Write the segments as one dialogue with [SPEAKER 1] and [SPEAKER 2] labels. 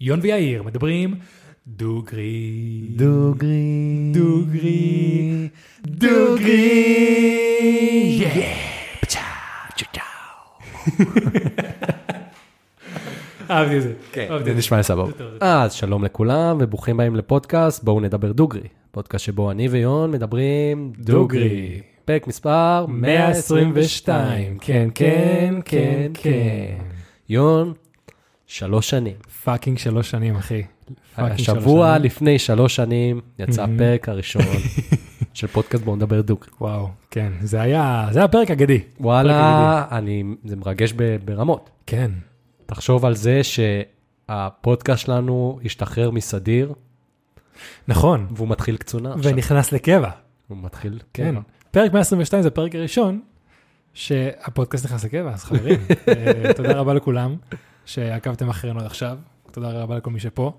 [SPEAKER 1] יון ויאיר מדברים דוגרי.
[SPEAKER 2] דוגרי.
[SPEAKER 1] דוגרי.
[SPEAKER 2] דוגרי.
[SPEAKER 1] Yeah. פצ'ה, צ'צ'או. אהבתי את זה.
[SPEAKER 2] כן,
[SPEAKER 1] אהבתי
[SPEAKER 2] זה
[SPEAKER 1] את זה.
[SPEAKER 2] נשמע
[SPEAKER 1] אוקיי. זה
[SPEAKER 2] סבבה.
[SPEAKER 1] טוב, זה טוב.
[SPEAKER 2] אז שלום לכולם וברוכים הבאים לפודקאסט בואו נדבר דוגרי. פודקאסט שבו אני ויון מדברים דוגרי.
[SPEAKER 1] דוגרי.
[SPEAKER 2] פרק מספר 122.
[SPEAKER 1] 122.
[SPEAKER 2] כן, כן, כן, כן. יון, שלוש שנים.
[SPEAKER 1] פאקינג שלוש שנים, אחי. פאקינג שלוש
[SPEAKER 2] השבוע
[SPEAKER 1] שנים.
[SPEAKER 2] לפני שלוש שנים יצא
[SPEAKER 1] Mhm.
[SPEAKER 2] הפרק הראשון של פודקאסט בואו נדבר דוגרי.
[SPEAKER 1] וואו, כן, זה היה, זה היה פרק אגדי.
[SPEAKER 2] וואלה, אני, זה מרגש ב- ברמות.
[SPEAKER 1] כן.
[SPEAKER 2] תחשוב על זה שהפודקאסט שלנו השתחרר מסדיר
[SPEAKER 1] נכון,
[SPEAKER 2] והוא מתחיל קצונה עכשיו.
[SPEAKER 1] ונכנס לקבע.
[SPEAKER 2] הוא מתחיל,
[SPEAKER 1] כן. פרק 122 זה הפרק הראשון שהפודקאסט נכנס לקבע, אז חברים, אה, תודה רבה לכולם שעקבתם אחרינו עד עכשיו, תודה רבה לכל מי שפה.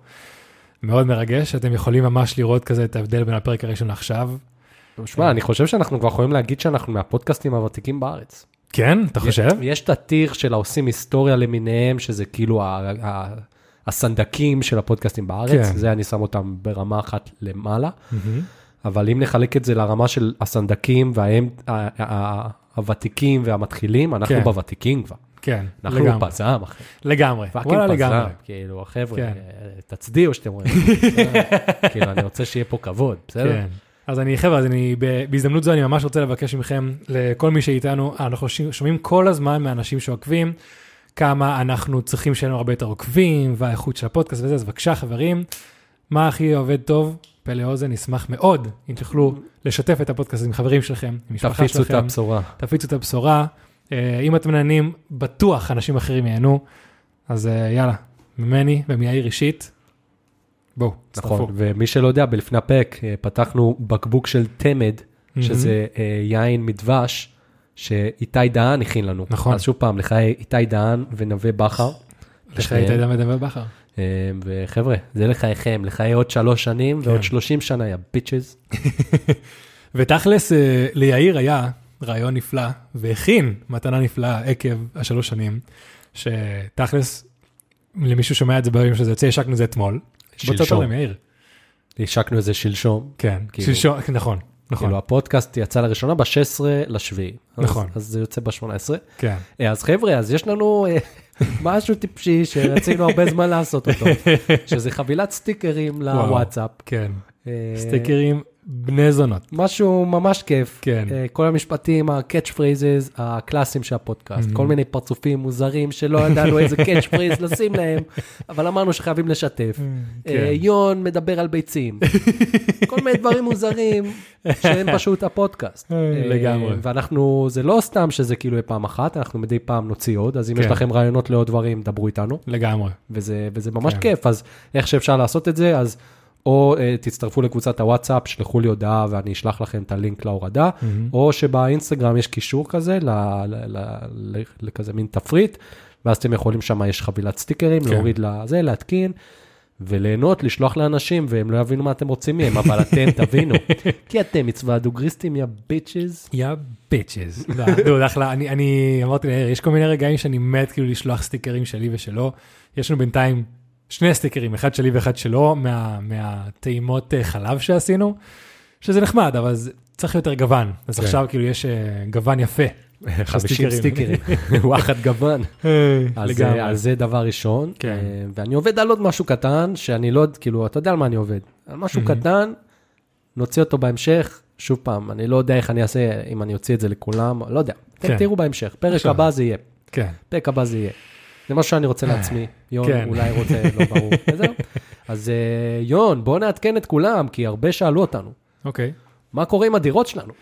[SPEAKER 1] מאוד מרגש, אתם יכולים ממש לראות כזה את ההבדל בין הפרק הראשון לעכשיו. כן.
[SPEAKER 2] שמע, אני חושב שאנחנו כבר יכולים להגיד שאנחנו מהפודקאסטים הוותיקים בארץ.
[SPEAKER 1] כן, אתה חושב?
[SPEAKER 2] יש את הטיר של העושים היסטוריה למיניהם, שזה כאילו ה- ה- הסנדקים של הפודקאסטים בארץ,
[SPEAKER 1] כן.
[SPEAKER 2] זה אני שם אותם ברמה אחת למעלה,
[SPEAKER 1] מהמם.
[SPEAKER 2] אבל אם נחלק את זה לרמה של הסנדקים וההם, ה- ה- ה- הוותיקים והמתחילים, אנחנו
[SPEAKER 1] כן.
[SPEAKER 2] בוותיקים כבר.
[SPEAKER 1] כן,
[SPEAKER 2] אנחנו
[SPEAKER 1] לגמרי.
[SPEAKER 2] פזם, אחי.
[SPEAKER 1] לגמרי,
[SPEAKER 2] פאקינג
[SPEAKER 1] וואלה
[SPEAKER 2] פזם,
[SPEAKER 1] לגמרי.
[SPEAKER 2] כאילו, החבר'ה,
[SPEAKER 1] כן.
[SPEAKER 2] אה, תצדיעו שאתם רואים. בסדר? כאילו, אני רוצה שיהיה פה כבוד, בסדר?
[SPEAKER 1] כן. אז אני, חבר'ה, אז אני, ב- בהזדמנות זו אני ממש רוצה לבקש מכם, לכל מי שאיתנו, אה, אנחנו ש- שומעים כל הזמן מאנשים שעוקבים, כמה אנחנו צריכים שיהיה לנו הרבה יותר עוקבים, והאיכות של הפודקאסט וזה, אז בבקשה, חברים, מה הכי עובד טוב? פה לאוזן, נשמח מאוד אם תוכלו לשתף את הפודקאסט עם חברים שלכם, עם משפחה
[SPEAKER 2] תפיצו את
[SPEAKER 1] שלכם,
[SPEAKER 2] הבשורה.
[SPEAKER 1] תפיצו את הבשורה. אה, אם אתם נהנים, בטוח אנשים אחרים ייהנו, אז אה, יאללה, ממני ומיאיר אישית, בואו, תצטרפו.
[SPEAKER 2] נכון, ומי שלא יודע, בלפני הפרק אה, פתחנו בקבוק של תמד,
[SPEAKER 1] מהמם.
[SPEAKER 2] שזה אה, יין מדבש, שאיתי דהן הכין לנו.
[SPEAKER 1] נכון.
[SPEAKER 2] אז שוב פעם, לך איתי דהן ונווה בכר.
[SPEAKER 1] לך הייתה
[SPEAKER 2] לשניהם.
[SPEAKER 1] דם ודבר בכר.
[SPEAKER 2] אה, וחבר'ה, זה לחייכם, לחיי עוד שלוש שנים ועוד
[SPEAKER 1] כן.
[SPEAKER 2] 30 שנה, יא ביצ'ז.
[SPEAKER 1] ותכלס, אה, ליאיר היה רעיון נפלא, והכין מתנה נפלאה עקב השלוש שנים, שתכלס, למי ששומע את זה ביום שזה יוצא, השקנו את זה אתמול.
[SPEAKER 2] שלשום.
[SPEAKER 1] שלשום. יאיר.
[SPEAKER 2] השקנו את זה שלשום.
[SPEAKER 1] כן,
[SPEAKER 2] כאילו-
[SPEAKER 1] שלשום, נכון, נכון,
[SPEAKER 2] כאילו הפודקאסט יצא לראשונה ב-16 לשביעי. אז-
[SPEAKER 1] נכון.
[SPEAKER 2] אז זה יוצא ב-18.
[SPEAKER 1] כן.
[SPEAKER 2] אה, אז חבר'ה, אז יש לנו אה, משהו טיפשי שרצינו הרבה זמן לעשות אותו, שזה חבילת סטיקרים
[SPEAKER 1] וואו.
[SPEAKER 2] לוואטסאפ.
[SPEAKER 1] כן,
[SPEAKER 2] אה,
[SPEAKER 1] סטיקרים בני זונות.
[SPEAKER 2] משהו ממש כיף.
[SPEAKER 1] כן.
[SPEAKER 2] אה, כל המשפטים, ה-catch phrases הקלאסיים של
[SPEAKER 1] Mm-hmm.
[SPEAKER 2] הפודקאסט, כל מיני פרצופים מוזרים שלא ידענו איזה catch phrase לשים להם, אבל אמרנו שחייבים לשתף.
[SPEAKER 1] כן.
[SPEAKER 2] אה, יון מדבר על ביצים. כל מיני דברים מוזרים שהם פשוט הפודקאסט.
[SPEAKER 1] אה, לגמרי.
[SPEAKER 2] אה, ואנחנו, זה לא סתם שזה כאילו יהיה פעם אחת, אנחנו מדי פעם נוציא עוד, אז אם יש
[SPEAKER 1] כן.
[SPEAKER 2] לכם רעיונות לעוד דברים, דברו איתנו.
[SPEAKER 1] לגמרי.
[SPEAKER 2] וזה, וזה ממש
[SPEAKER 1] כן.
[SPEAKER 2] כיף, אז איך שאפשר לעשות את זה, אז או אה, תצטרפו לקבוצת הוואטסאפ, שלחו לי הודעה ואני אשלח לכם את הלינק להורדה, או שבאינסטגרם יש קישור כזה, ל, ל, ל, ל, לכזה מין תפריט, ואז אתם יכולים שם, יש חבילת סטיקרים,
[SPEAKER 1] כן.
[SPEAKER 2] להוריד לזה, להתקין. וליהנות, לשלוח לאנשים, והם לא יבינו מה אתם רוצים מהם, אבל אתם תבינו. כי אתם מצווה הדוגריסטים, יא ביצ'ז.
[SPEAKER 1] יא ביצ'ז. דוד, אחלה. אני, אני אמרתי ליאיר, יש כל מיני רגעים שאני מת כאילו לשלוח סטיקרים שלי ושלו. יש לנו בינתיים שני סטיקרים, אחד שלי ואחד שלו, מה, מהטעימות אה, חלב שעשינו, שזה נחמד, אבל זה, צריך יותר גוון. אז
[SPEAKER 2] כן.
[SPEAKER 1] עכשיו כאילו יש אה, גוון יפה.
[SPEAKER 2] 50 סטיקרים. וואחד גוון. אז, אה,
[SPEAKER 1] לגמרי.
[SPEAKER 2] אז זה דבר ראשון,
[SPEAKER 1] כן.
[SPEAKER 2] אה, ואני עובד על עוד משהו קטן, שאני לא, כאילו, אתה יודע על מה אני עובד, על משהו
[SPEAKER 1] מהמם.
[SPEAKER 2] קטן, נוציא אותו בהמשך, שוב פעם, אני לא יודע איך אני אעשה, אם אני אוציא את זה לכולם, לא יודע, אתם
[SPEAKER 1] כן.
[SPEAKER 2] תראו בהמשך, פרק
[SPEAKER 1] בסדר.
[SPEAKER 2] הבא זה יהיה,
[SPEAKER 1] כן.
[SPEAKER 2] פרק הבא זה יהיה. זה משהו שאני רוצה לעצמי, יון
[SPEAKER 1] כן.
[SPEAKER 2] אולי רוצה, לא ברור, וזהו. אז אה, יון, בוא נעדכן את כולם, כי הרבה שאלו אותנו,
[SPEAKER 1] אוקיי.
[SPEAKER 2] מה קורה עם הדירות שלנו?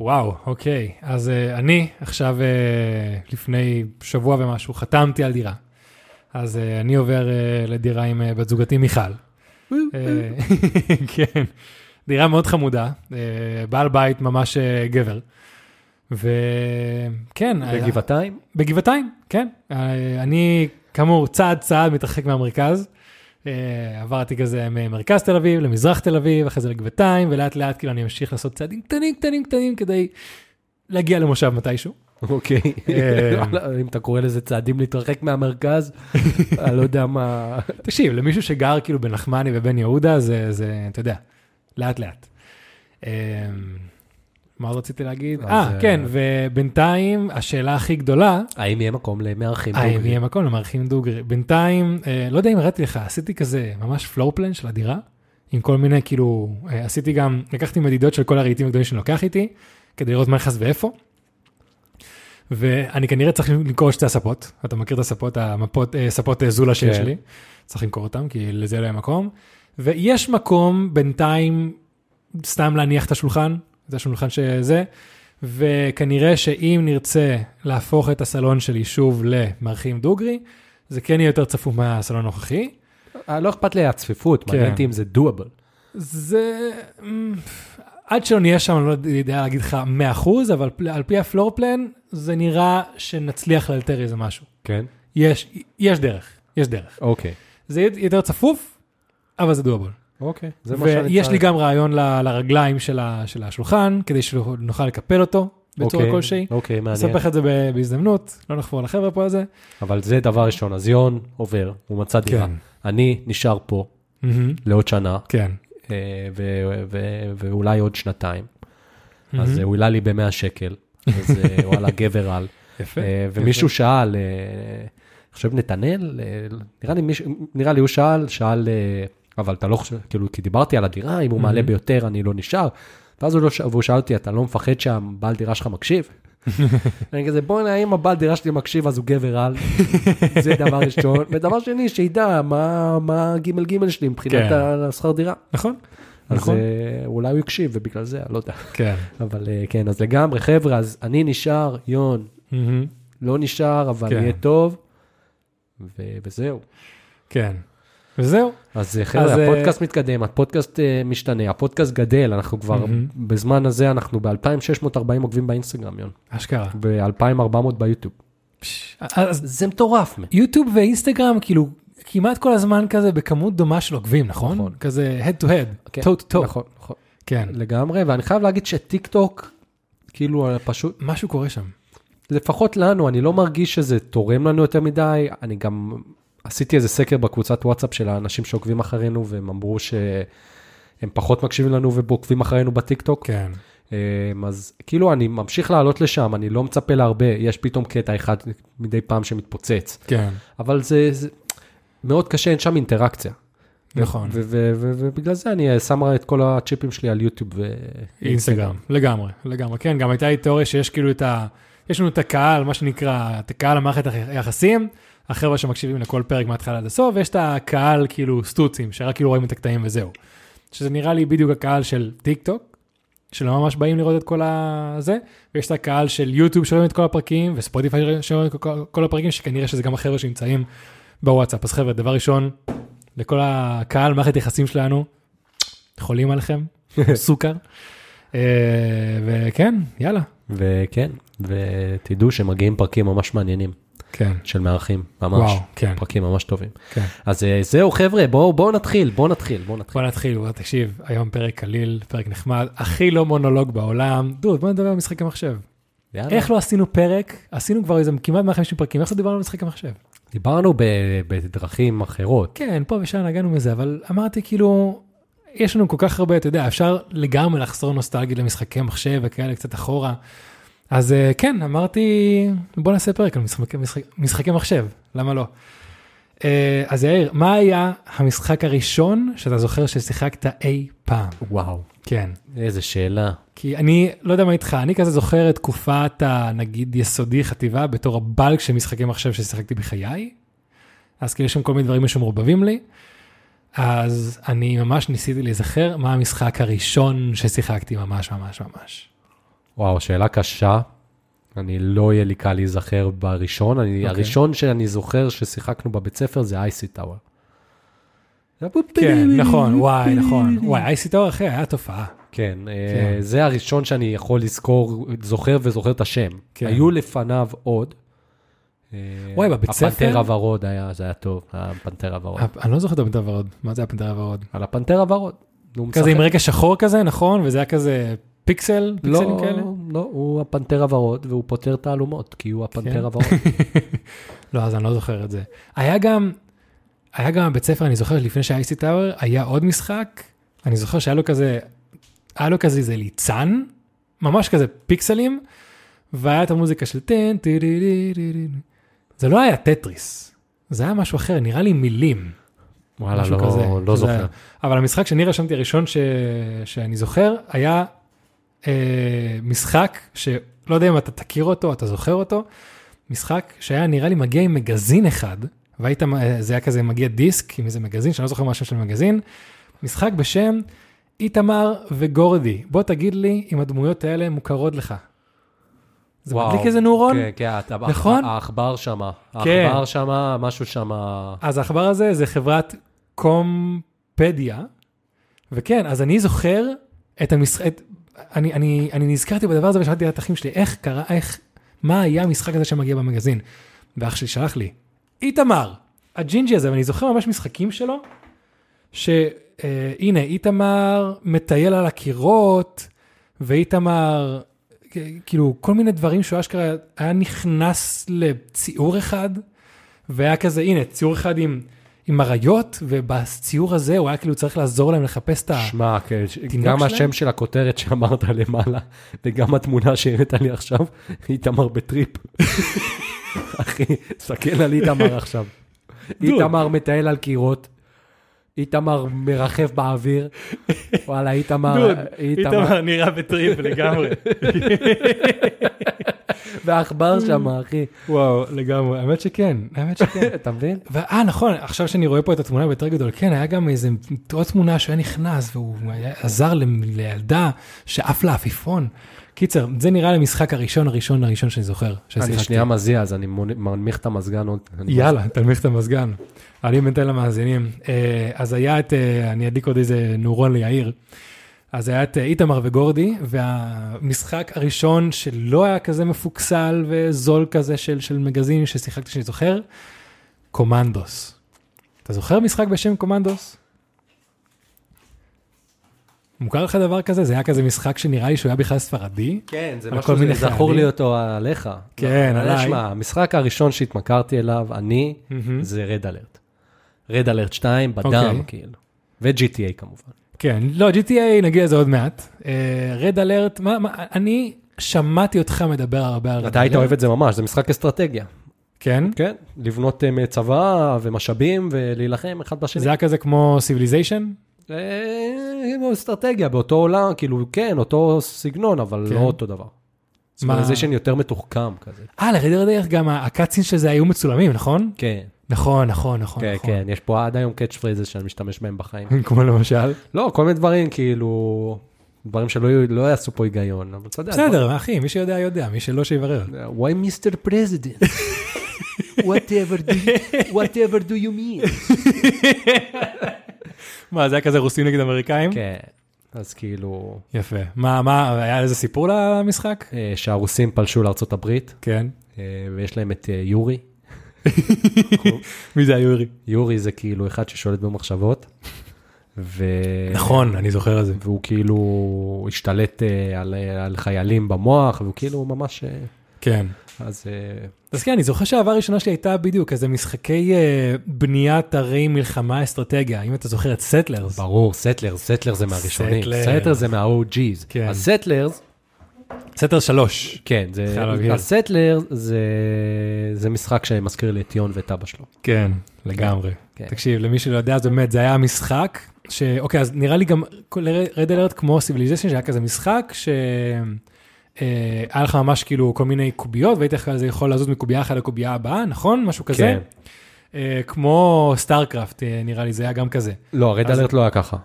[SPEAKER 1] וואו, אוקיי. אז uh, אני עכשיו, uh, לפני שבוע ומשהו, חתמתי על דירה. אז uh, אני עובר uh, לדירה עם uh, בת זוגתי מיכל. אה, כן, דירה מאוד חמודה, אה, בעל בית ממש אה, גבר. כן, וכן, היה-
[SPEAKER 2] בגבעתיים?
[SPEAKER 1] בגבעתיים, כן. אה, אני, כאמור, צעד צעד מתרחק מהמרכז. אה, עברתי כזה ממרכז תל אביב למזרח תל אביב, אחרי זה לגבעתיים, ולאט לאט כאילו אני אמשיך לעשות צעדים קטנים קטנים קטנים כדי להגיע למושב מתישהו.
[SPEAKER 2] אוקיי.
[SPEAKER 1] אה,
[SPEAKER 2] וואלה, אם אתה קורא לזה צעדים להתרחק מהמרכז, אני לא יודע מה...
[SPEAKER 1] תקשיב, למישהו שגר כאילו בנחמני ובן יהודה, זה, זה, אתה יודע, לאט לאט. אמ, מה עוד רציתי להגיד?
[SPEAKER 2] אז,
[SPEAKER 1] אה,
[SPEAKER 2] אה,
[SPEAKER 1] כן, ובינתיים, השאלה הכי גדולה,
[SPEAKER 2] האם יהיה מקום למארחים?
[SPEAKER 1] אה, אם
[SPEAKER 2] דוגרי?
[SPEAKER 1] יהיה מקום למארחים דוגרי. בינתיים, אה, לא יודע אם הראיתי לך, עשיתי כזה ממש פלואו פלן של הדירה, עם כל מיני, כאילו, אה, עשיתי גם, לקחתי מדידות של כל הרהיטים הגדולים שאני לוקח איתי, כדי לראות מה נכנס ואיפה. ואני כנראה צריך למכור שתי הספות, אתה מכיר את הספות, המפות, אה, ספות אה, זולה שיש
[SPEAKER 2] כן.
[SPEAKER 1] לי, צריך למכור אותן, כי לזה לא היה מקום. ויש מקום בינתיים סתם להניח את השולחן, זה השולחן שזה, וכנראה שאם נרצה להפוך את הסלון שלי שוב למארחים דוגרי, זה כן יהיה יותר צפוף מהסלון הנוכחי.
[SPEAKER 2] אה, לא אכפת לי הצפיפות, מעניין אותי אם זה doable.
[SPEAKER 1] זה... אמ, עד שלא נהיה שם, אני לא יודע להגיד לך 100%, אבל פל- על פי הפלור פלן, זה נראה שנצליח לאלתר איזה משהו.
[SPEAKER 2] כן.
[SPEAKER 1] יש, יש דרך, יש דרך.
[SPEAKER 2] אוקיי.
[SPEAKER 1] זה יהיה יותר צפוף, אבל זה דואבול.
[SPEAKER 2] אוקיי. זה מה שאני
[SPEAKER 1] ויש לי
[SPEAKER 2] צריך.
[SPEAKER 1] גם רעיון ל- לרגליים של ה- של השולחן, כדי שנוכל לקפל אותו בצורה
[SPEAKER 2] אוקיי,
[SPEAKER 1] כלשהי.
[SPEAKER 2] אוקיי, מעניין.
[SPEAKER 1] נספח את זה ב- בהזדמנות, לא נחפור על החבר'ה פה על זה.
[SPEAKER 2] אבל זה דבר ראשון, אז יון עובר, הוא מצא דירה.
[SPEAKER 1] כן.
[SPEAKER 2] אני נשאר פה
[SPEAKER 1] מהמם,
[SPEAKER 2] לעוד שנה,
[SPEAKER 1] כן.
[SPEAKER 2] אה, ו- ו- ואולי עוד שנתיים. אז
[SPEAKER 1] מהמם.
[SPEAKER 2] אה, הוא העלה לי ב-100 שקל, אז אה, וואלה, גבר על.
[SPEAKER 1] יפה.
[SPEAKER 2] אה, ומישהו שאל, אה, אני חושב נתנאל, אה, נראה לי מישהו- נראה לי הוא שאל, שאל, אה, אבל אתה לא חושב, כאילו, כי דיברתי על הדירה, אם הוא מעלה
[SPEAKER 1] מהמם.
[SPEAKER 2] ביותר, אני לא נשאר. ואז הוא לא ש- והוא שאל אותי, אתה לא מפחד שהבעל דירה שלך מקשיב? אני כזה, בוא'נה, אם הבעל דירה שלי מקשיב, אז הוא גבר על. זה דבר ראשון. ודבר שני, שידע מה- מה ג' ג' שלי מבחינת
[SPEAKER 1] כן.
[SPEAKER 2] השכר דירה.
[SPEAKER 1] נכון,
[SPEAKER 2] אז
[SPEAKER 1] נכון.
[SPEAKER 2] אה, אולי הוא יקשיב, ובגלל זה, אני לא יודע.
[SPEAKER 1] כן.
[SPEAKER 2] אבל אה, כן, אז לגמרי, חבר'ה, אז אני נשאר, יון,
[SPEAKER 1] מהמם,
[SPEAKER 2] לא נשאר, אבל
[SPEAKER 1] כן.
[SPEAKER 2] יהיה טוב, ו- וזהו.
[SPEAKER 1] כן. וזהו.
[SPEAKER 2] אז אה, חבר'ה,
[SPEAKER 1] אז, אה,
[SPEAKER 2] הפודקאסט מתקדם, הפודקאסט אה, משתנה, הפודקאסט גדל, אנחנו כבר,
[SPEAKER 1] מהמם.
[SPEAKER 2] בזמן הזה אנחנו ב-2,640 עוקבים באינסטגרם, יון,
[SPEAKER 1] אשכרה.
[SPEAKER 2] ו-2,400 ביוטיוב.
[SPEAKER 1] פש, אז
[SPEAKER 2] זה מטורף. מן.
[SPEAKER 1] יוטיוב ואינסטגרם כאילו כמעט כל הזמן כזה בכמות דומה של עוקבים, נכון?
[SPEAKER 2] נכון.
[SPEAKER 1] כזה head to head,
[SPEAKER 2] כן,
[SPEAKER 1] toe to toe.
[SPEAKER 2] נכון, נכון.
[SPEAKER 1] כן.
[SPEAKER 2] לגמרי, ואני חייב להגיד שטיק טוק, כאילו, אה, פשוט,
[SPEAKER 1] משהו קורה שם.
[SPEAKER 2] לפחות לנו, אני לא מרגיש שזה תורם לנו יותר מדי, אני גם עשיתי איזה סקר בקבוצת וואטסאפ של האנשים שעוקבים אחרינו, והם אמרו שהם פחות מקשיבים לנו ועוקבים אחרינו בטיקטוק.
[SPEAKER 1] כן.
[SPEAKER 2] אמ, אז כאילו אני ממשיך לעלות לשם, אני לא מצפה להרבה, יש פתאום קטע אחד מדי פעם שמתפוצץ,
[SPEAKER 1] כן.
[SPEAKER 2] אבל זה, זה מאוד קשה, אין שם אינטראקציה.
[SPEAKER 1] נכון.
[SPEAKER 2] ו- ו- ו- ובגלל זה אני שם את כל הצ'יפים שלי על יוטיוב. ו...
[SPEAKER 1] אינסטגרם. לגמרי, לגמרי. כן, גם הייתה לי תיאוריה שיש כאילו את ה... יש לנו את הקהל, מה שנקרא, את הקהל המערכת היחסים, החבר'ה שמקשיבים לכל פרק מההתחלה עד הסוף, ויש את הקהל כאילו סטוצים, שרק כאילו רואים את הקטעים וזהו. שזה נראה לי בדיוק הקהל של טיק טוק, שלא ממש באים לראות את כל הזה, ויש את הקהל של יוטיוב שרואים את כל הפרקים, וספוטיפיי שרואים את כל- כל הפרקים, שכנראה שזה גם החבר'ה שנמצאים בוואטסאפ. אז חבר'ה, דבר ראשון, לכל הקהל, מערכת יחסים שלנו, חולים עליכם, סוכר. אה, וכן, יאללה.
[SPEAKER 2] וכן, ותדעו שמגיעים פרקים ממש מעניינים
[SPEAKER 1] כן.
[SPEAKER 2] של מארחים, ממש.
[SPEAKER 1] וואו, כן,
[SPEAKER 2] פרקים ממש טובים.
[SPEAKER 1] כן.
[SPEAKER 2] אז אה, זהו חבר'ה, בואו בואו נתחיל, בואו נתחיל, בואו נתחיל.
[SPEAKER 1] בוא נתחיל, בוא תקשיב, היום פרק קליל, פרק נחמד, הכי לא מונולוג בעולם. דוד, בוא נדבר על משחק המחשב.
[SPEAKER 2] יאללה.
[SPEAKER 1] איך לא עשינו פרק? עשינו כבר איזה כמעט 150 פרקים, איך לא דיברנו על משחק המחשב?
[SPEAKER 2] דיברנו ב- בדרכים אחרות.
[SPEAKER 1] כן, פה ושם נגענו מזה, אבל אמרתי כאילו, יש לנו כל כך הרבה, אתה יודע, אפשר לגמרי לחזור נוסטלגית למשחקי מחשב וכאלה קצת אחורה. אז אה, כן, אמרתי, בוא נעשה פרק על משחק, משחק, משחקי מחשב, למה לא? אה, אז יאיר, מה היה המשחק הראשון שאתה זוכר ששיחקת אי פעם?
[SPEAKER 2] וואו,
[SPEAKER 1] כן.
[SPEAKER 2] איזה שאלה.
[SPEAKER 1] כי אני לא יודע מה איתך, אני כזה זוכר את תקופת הנגיד יסודי חטיבה בתור הבלק של משחקי מחשב ששיחקתי בחיי. אז כאילו יש שם כל מיני דברים שמעורבבים לי. אז אני ממש ניסיתי להיזכר מה המשחק הראשון ששיחקתי ממש ממש ממש.
[SPEAKER 2] וואו, שאלה קשה. אני לא יהיה לי קל להיזכר בראשון. אני,
[SPEAKER 1] אוקיי.
[SPEAKER 2] okay. הראשון שאני זוכר ששיחקנו בבית ספר זה אייסי טאוור.
[SPEAKER 1] כן, נכון, וואי, נכון. וואי, אייסי טאור אחי, היה תופעה.
[SPEAKER 2] כן, אה, זה הראשון שאני יכול לזכור, זוכר וזוכר את השם.
[SPEAKER 1] כן.
[SPEAKER 2] היו לפניו עוד. אה,
[SPEAKER 1] וואי, בבית
[SPEAKER 2] הפנתר
[SPEAKER 1] ספר?
[SPEAKER 2] הוורוד היה, זה היה טוב, הפנתר הוורוד.
[SPEAKER 1] אני לא זוכר את הפנתר הוורוד, מה זה הפנתר הוורוד?
[SPEAKER 2] על הפנתר הוורוד. נו, הוא
[SPEAKER 1] כזה עם
[SPEAKER 2] משחק.
[SPEAKER 1] רקע שחור כזה, נכון? וזה היה כזה פיקסל? פיקסלים
[SPEAKER 2] לא,
[SPEAKER 1] כאלה?
[SPEAKER 2] לא, הוא הפנתר הוורוד, והוא פותר תעלומות, כי הוא
[SPEAKER 1] כן.
[SPEAKER 2] הפנתר הוורוד.
[SPEAKER 1] לא, אז אני לא זוכר את זה. היה גם, היה גם בית ספר, אני זוכר לפני שהיה אייסי טאוור, היה עוד משחק, אני זוכר שהיה לו כזה, היה לו כזה איזה ליצן, ממש כזה פיקסלים, והיה את המוזיקה של טן, טי די די די די. זה לא היה טטריס, זה היה משהו אחר, נראה לי מילים.
[SPEAKER 2] וואלה,
[SPEAKER 1] משהו כזה,
[SPEAKER 2] לא, לא
[SPEAKER 1] שזה היה.
[SPEAKER 2] זוכר.
[SPEAKER 1] אבל המשחק שאני רשמתי הראשון ש... שאני זוכר היה אה, משחק שלא יודע אם אתה תכיר אותו, אתה זוכר אותו, משחק שהיה נראה לי מגיע עם מגזין אחד, והיית, אה, זה היה כזה מגיע דיסק עם איזה מגזין, שאני לא זוכר מה השם של המגזין, משחק בשם איתמר וגורדי, בוא תגיד לי אם הדמויות האלה מוכרות לך. זה
[SPEAKER 2] וואו,
[SPEAKER 1] מדליק איזה נורון?
[SPEAKER 2] כן, כן, אתה-
[SPEAKER 1] נכון?
[SPEAKER 2] העכבר שמה.
[SPEAKER 1] כן.
[SPEAKER 2] העכבר שמה, משהו שמה...
[SPEAKER 1] אז העכבר הזה זה חברת קומפדיה, וכן, אז אני זוכר את המשחק, אני, אני, אני נזכרתי בדבר הזה ושאלתי את האחים שלי, איך קרה, איך, מה היה המשחק הזה שמגיע במגזין? ואח שלי שלח לי, איתמר, הג'ינג'י הזה, ואני זוכר ממש משחקים שלו, שהנה, איתמר מטייל על הקירות, ואיתמר, כ- כאילו, כל מיני דברים שהוא אשכרה היה נכנס לציור אחד, והיה כזה, הנה, ציור אחד עם, עם אריות, ובציור הזה הוא היה כאילו צריך לעזור להם לחפש את ה...
[SPEAKER 2] שמע, כן, ש-
[SPEAKER 1] תינוק
[SPEAKER 2] גם
[SPEAKER 1] שלהם?
[SPEAKER 2] השם של הכותרת שאמרת למעלה, וגם התמונה שהראית לי עכשיו, איתמר בטריפ. אחי, סתכל על איתמר עכשיו. איתמר מטייל על קירות, איתמר מרחף באוויר, וואלה, איתמר, איתמר,
[SPEAKER 1] נראה בטריפ לגמרי.
[SPEAKER 2] והעכבר שם, אחי.
[SPEAKER 1] וואו, לגמרי, האמת שכן, האמת שכן.
[SPEAKER 2] אתה מבין?
[SPEAKER 1] ואה, נכון, עכשיו שאני רואה פה את התמונה ביותר גדול, כן, היה גם איזה עוד תמונה שהיה נכנס והוא היה- עזר למ- לילדה שעף לה עפיפון. קיצר, זה נראה לי המשחק הראשון, הראשון, הראשון שאני זוכר.
[SPEAKER 2] אני
[SPEAKER 1] ששיחקתי.
[SPEAKER 2] שנייה מזיע, אז אני מונ- מנמיך את המזגן עוד. אני
[SPEAKER 1] יאללה, תנמיך את המזגן. אני מנתן למאזינים. אה, אז היה את, אה, אני אדליק עוד איזה נורון ליאיר. אז היה את אה, איתמר וגורדי, והמשחק הראשון שלא היה כזה מפוקסל וזול כזה של, של מגזין ששיחקתי שאני זוכר, קומנדוס. אתה זוכר משחק בשם קומנדוס? מוכר לך דבר כזה? זה היה כזה משחק שנראה לי שהוא היה בכלל ספרדי.
[SPEAKER 2] כן, זה
[SPEAKER 1] על
[SPEAKER 2] משהו
[SPEAKER 1] כל מיני
[SPEAKER 2] שזכור
[SPEAKER 1] חיילים.
[SPEAKER 2] לי אותו עליך.
[SPEAKER 1] כן,
[SPEAKER 2] אבל
[SPEAKER 1] עליי.
[SPEAKER 2] שמע, המשחק הראשון שהתמכרתי אליו, אני,
[SPEAKER 1] מהמם.
[SPEAKER 2] זה רד אלרט. רד אלרט 2 בדם,
[SPEAKER 1] Hmm? אוקיי.
[SPEAKER 2] כאילו. ו-GTA כמובן.
[SPEAKER 1] כן, לא, GTA נגיע לזה עוד מעט. רד אלרט, מה, מה, אני שמעתי אותך מדבר הרבה על רד אלרט.
[SPEAKER 2] אתה היית אוהב את זה ממש, זה משחק אסטרטגיה.
[SPEAKER 1] כן?
[SPEAKER 2] כן, לבנות אה, צבא ומשאבים ולהילחם אחד בשני.
[SPEAKER 1] זה היה כזה כמו סיביליזיישן?
[SPEAKER 2] אה, כמו אסטרטגיה באותו עולם, כאילו, כן, אותו סגנון, אבל
[SPEAKER 1] כן.
[SPEAKER 2] לא אותו דבר.
[SPEAKER 1] מה-
[SPEAKER 2] סימוליזיישן יותר מתוחכם כזה.
[SPEAKER 1] אה, לרד אלרט גם ה- הקאצין של זה היו מצולמים, נכון?
[SPEAKER 2] כן,
[SPEAKER 1] נכון, נכון, נכון.
[SPEAKER 2] כן,
[SPEAKER 1] נכון.
[SPEAKER 2] כן, יש פה עד היום קאץ' פרייזס שאני משתמש בהם בחיים.
[SPEAKER 1] כמו למשל.
[SPEAKER 2] לא, כל מיני דברים, כאילו, דברים שלא יהיו- לא יעשו פה היגיון, אבל אתה יודע.
[SPEAKER 1] בסדר, אחי, מי שיודע יודע, מי שלא שיברר.
[SPEAKER 2] דברים- Why Mr. President? whatever, do you, whatever do you mean?
[SPEAKER 1] מה, זה היה כזה רוסים נגד אמריקאים?
[SPEAKER 2] כן, אז כאילו,
[SPEAKER 1] יפה. מה, מה, היה איזה סיפור למשחק?
[SPEAKER 2] אה, שהרוסים פלשו לארה"ב,
[SPEAKER 1] כן.
[SPEAKER 2] ויש להם את אה, יורי.
[SPEAKER 1] מי זה היה יורי?
[SPEAKER 2] יורי זה כאילו אחד ששולט במחשבות, ו...
[SPEAKER 1] נכון, אני זוכר את זה.
[SPEAKER 2] והוא כאילו השתלט אה, על, על חיילים במוח, והוא כאילו ממש... אה,
[SPEAKER 1] כן.
[SPEAKER 2] אז אה,
[SPEAKER 1] אז כן, אני זוכר שהאהבה הראשונה שלי הייתה בדיוק איזה משחקי אה, בניית ערי מלחמה אסטרטגיה, אם אתה זוכר את סטלרס.
[SPEAKER 2] ברור, סטלר, סטלר זה מהראשונים.
[SPEAKER 1] סטלר.
[SPEAKER 2] סטלר זה מה-OG's.
[SPEAKER 1] כן.
[SPEAKER 2] הסטלרס,
[SPEAKER 1] סטלר 3.
[SPEAKER 2] כן, זה...
[SPEAKER 1] חייב להבהיר.
[SPEAKER 2] הסטלר זה זה משחק שמזכיר לי את יון ואת אבא שלו.
[SPEAKER 1] כן, לגמרי.
[SPEAKER 2] כן.
[SPEAKER 1] תקשיב, למי שלא יודע, זה באמת, זה היה משחק, ש... אוקיי, אז נראה לי גם רד אלרט כמו סיביליזיישן, שהיה כזה משחק, ש... אה, היה לך ממש כאילו כל מיני קוביות, והיית כזה יכול לזוז מקובייה אחת לקובייה הבאה, נכון? משהו כזה?
[SPEAKER 2] כן.
[SPEAKER 1] אה, כמו סטארקראפט, אה, נראה לי, זה היה גם כזה.
[SPEAKER 2] לא, הרד
[SPEAKER 1] אז-
[SPEAKER 2] אלרט לא היה ככה.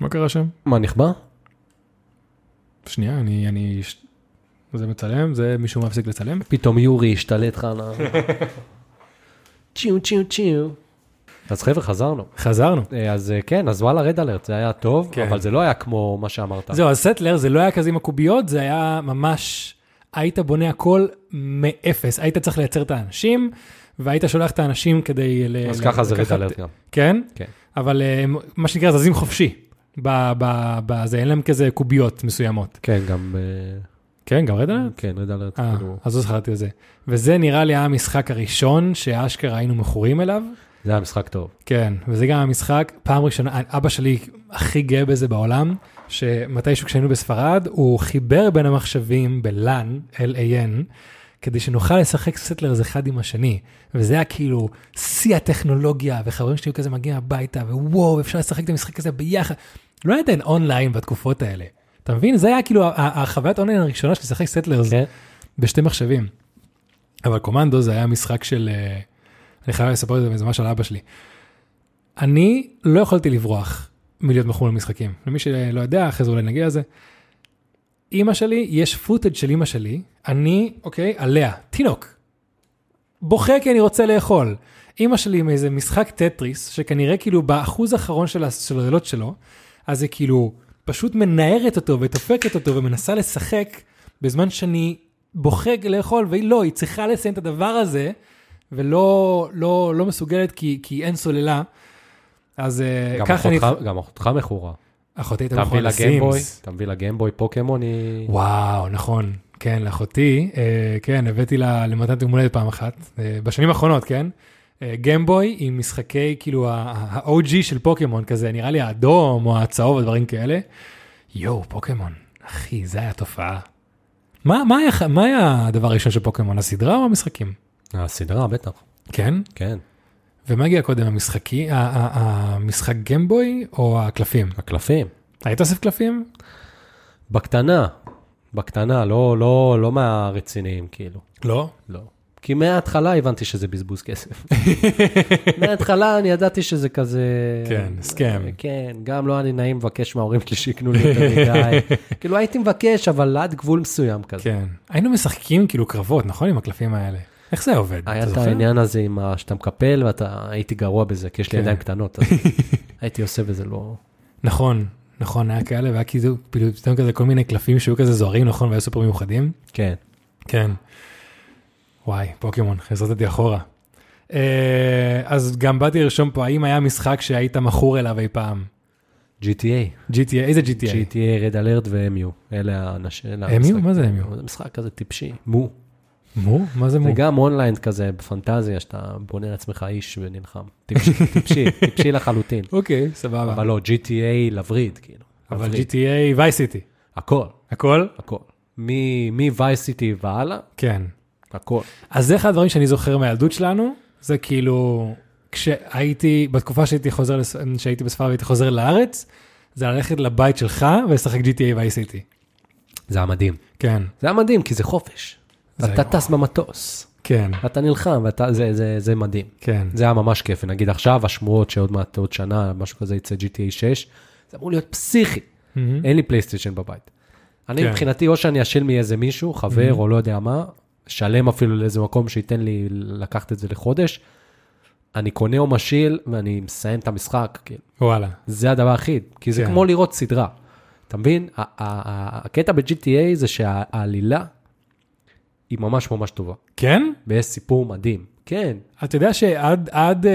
[SPEAKER 1] מה קרה שם?
[SPEAKER 2] מה, נכבה?
[SPEAKER 1] שנייה, אני... אני... ש- זה מצלם, זה מישהו מפסיק לצלם.
[SPEAKER 2] פתאום יורי השתלט לך על ה... צ'יו צ'יו צ'יו. אז חבר'ה, חזרנו.
[SPEAKER 1] חזרנו.
[SPEAKER 2] אה, אז אה, כן, אז וואלה, רד אלרט, זה היה טוב,
[SPEAKER 1] כן.
[SPEAKER 2] אבל זה לא היה כמו מה שאמרת.
[SPEAKER 1] זהו, אז סטלר זה לא היה כזה עם הקוביות, זה היה ממש, היית בונה הכל מאפס, היית צריך לייצר את האנשים, והיית שולח את האנשים כדי... ל-
[SPEAKER 2] אז
[SPEAKER 1] ל-
[SPEAKER 2] ככה זה רד
[SPEAKER 1] לקחת-
[SPEAKER 2] אלרט גם.
[SPEAKER 1] כן?
[SPEAKER 2] כן.
[SPEAKER 1] אבל אה, מה שנקרא זזים חופשי. ב- ב- בזה, אין להם כזה קוביות מסוימות.
[SPEAKER 2] כן, גם... אה,
[SPEAKER 1] כן, גם רד אלרט?
[SPEAKER 2] כן, רד אלרט,
[SPEAKER 1] אה,
[SPEAKER 2] כאילו...
[SPEAKER 1] אז לא זכרתי את זה. וזה נראה לי היה המשחק הראשון שאשכרה היינו מכורים אליו.
[SPEAKER 2] זה היה משחק טוב.
[SPEAKER 1] כן, וזה גם המשחק, פעם ראשונה, אבא שלי הכי גאה בזה בעולם, שמתישהו כשהיינו בספרד, הוא חיבר בין המחשבים בלאן, LAN, כדי שנוכל לשחק סטלרס אחד עם השני. וזה היה כאילו שיא הטכנולוגיה, וחברים שלי היו כזה מגיעים הביתה, ווואו, אפשר לשחק את המשחק הזה ביחד. לא היה עדיין אונליין בתקופות האלה. אתה מבין? זה היה כאילו ה- ה- החוויית אונליין הראשונה שלי לשחק סטלרס.
[SPEAKER 2] כן.
[SPEAKER 1] בשתי מחשבים. אבל קומנדו זה היה משחק של... אה, אני חייב לספר את זה, זה ממש על אבא שלי. אני לא יכולתי לברוח מלהיות מכור למשחקים. למי שלא יודע, אחרי זה אולי נגיע לזה. אימא שלי, יש פוטג' של אימא שלי, אני, אוקיי, עליה, תינוק. בוכה כי אני רוצה לאכול. אימא שלי עם איזה משחק טטריס, שכנראה כאילו באחוז האחרון של הסוללות שלו, אז היא כאילו פשוט מנערת אותו ודופקת אותו ומנסה לשחק, בזמן שאני בוכה לאכול, והיא לא, היא צריכה לסיים את הדבר הזה, ולא לא, לא מסוגלת כי, כי אין סוללה. אז אה,
[SPEAKER 2] גם
[SPEAKER 1] ככה אני...
[SPEAKER 2] אחותך- גם אחותך מכורה.
[SPEAKER 1] אחותי הייתה
[SPEAKER 2] אתה מביא
[SPEAKER 1] מכורה
[SPEAKER 2] לגיימבוי,
[SPEAKER 1] לסימס.
[SPEAKER 2] אתה מביא לגיימבוי פוקימון היא...
[SPEAKER 1] וואו, נכון. כן, לאחותי, אה, כן, הבאתי לה למתנת יום הולדת פעם אחת, אה, בשנים האחרונות, כן? אה, גמבוי עם משחקי, כאילו, ה- ה- ה-OG של פוקימון כזה, נראה לי האדום או הצהוב או דברים כאלה. יואו, פוקימון, אחי, זה היה תופעה. מה, מה, היה, ח- מה היה הדבר הראשון של פוקימון, הסדרה או המשחקים?
[SPEAKER 2] הסדרה, בטח.
[SPEAKER 1] כן?
[SPEAKER 2] כן.
[SPEAKER 1] ומה הגיע קודם, המשחקי, ה- ה- ה- המשחק גמבוי או הקלפים?
[SPEAKER 2] הקלפים.
[SPEAKER 1] היית אוסף קלפים?
[SPEAKER 2] בקטנה. בקטנה, לא, לא, לא מהרציניים, כאילו.
[SPEAKER 1] לא.
[SPEAKER 2] לא. כי מההתחלה הבנתי שזה בזבוז כסף. מההתחלה אני ידעתי שזה כזה...
[SPEAKER 1] כן, סכם.
[SPEAKER 2] כן, גם לא היה לי נעים לבקש מההורים שלי שיקנו לי יותר מדי. כאילו הייתי מבקש, אבל עד גבול מסוים כזה.
[SPEAKER 1] כן. היינו משחקים כאילו קרבות, נכון? עם הקלפים האלה. איך זה עובד?
[SPEAKER 2] היה
[SPEAKER 1] אתה
[SPEAKER 2] את
[SPEAKER 1] זוכר?
[SPEAKER 2] העניין הזה עם ה- שאתה מקפל ואתה הייתי גרוע בזה, כי יש לי
[SPEAKER 1] כן.
[SPEAKER 2] ידיים קטנות, אז הייתי עושה בזה לא...
[SPEAKER 1] נכון, נכון, היה כאלה, והיה כאילו כאילו, פתאום כזה כל מיני קלפים שהיו כזה זוהרים, נכון? והיו סופר מיוחדים.
[SPEAKER 2] כן.
[SPEAKER 1] כן. וואי, פוקימון, חזרת אותי אחורה. אה, אז גם באתי לרשום פה, האם היה משחק שהיית מכור אליו אי פעם?
[SPEAKER 2] GTA.
[SPEAKER 1] GTA, איזה GTA?
[SPEAKER 2] GTA, רד אלרט ו-MU, אלה האנשים...
[SPEAKER 1] MU? מה זה MU?
[SPEAKER 2] זה משחק כזה טיפשי. מו.
[SPEAKER 1] מו? מה זה מו?
[SPEAKER 2] זה גם אונליין כזה, בפנטזיה, שאתה בונה לעצמך איש ונלחם. טיפשי, טיפשי, טיפשי לחלוטין.
[SPEAKER 1] אוקיי, סבבה.
[SPEAKER 2] אבל לא, GTA לווריד, כאילו.
[SPEAKER 1] אבל
[SPEAKER 2] לווריד.
[SPEAKER 1] GTA, וייס סיטי.
[SPEAKER 2] הכל,
[SPEAKER 1] הכל?
[SPEAKER 2] הכל. מווייס סיטי והלאה,
[SPEAKER 1] כן.
[SPEAKER 2] הכל.
[SPEAKER 1] אז זה אחד הדברים שאני זוכר מהילדות שלנו, זה כאילו, כשהייתי, בתקופה שהייתי חוזר, לס- שהייתי בספרד והייתי חוזר לארץ, זה ללכת לבית שלך ולשחק GTA ו-Ice City.
[SPEAKER 2] זה היה מדהים.
[SPEAKER 1] כן,
[SPEAKER 2] זה היה מדהים, כי זה חופש.
[SPEAKER 1] זה
[SPEAKER 2] אתה
[SPEAKER 1] היה-
[SPEAKER 2] טס במטוס,
[SPEAKER 1] כן,
[SPEAKER 2] אתה נלחם, ואתה- זה- זה- זה מדהים.
[SPEAKER 1] כן.
[SPEAKER 2] זה היה ממש כיף, נגיד עכשיו השמועות שעוד מעט עוד שנה, משהו כזה יצא GTA 6, זה אמור להיות פסיכי,
[SPEAKER 1] מהמם.
[SPEAKER 2] אין לי פלייסטיישן בבית. אני
[SPEAKER 1] כן. Mhm.
[SPEAKER 2] מבחינתי, או שאני אשל מאיזה מישהו, חבר או לא יודע מה, שלם אפילו לאיזה מקום שייתן לי לקחת את זה לחודש, אני קונה או משיל ואני מסיים את המשחק, כאילו.
[SPEAKER 1] וואלה.
[SPEAKER 2] זה הדבר הכי, כי זה
[SPEAKER 1] כן.
[SPEAKER 2] כמו לראות סדרה. אתה מבין? ה- ה- ה- הקטע ב-GTA זה שהעלילה היא ממש ממש טובה,
[SPEAKER 1] כן?
[SPEAKER 2] ויש סיפור מדהים. כן,
[SPEAKER 1] אתה יודע שעד, עד, אה,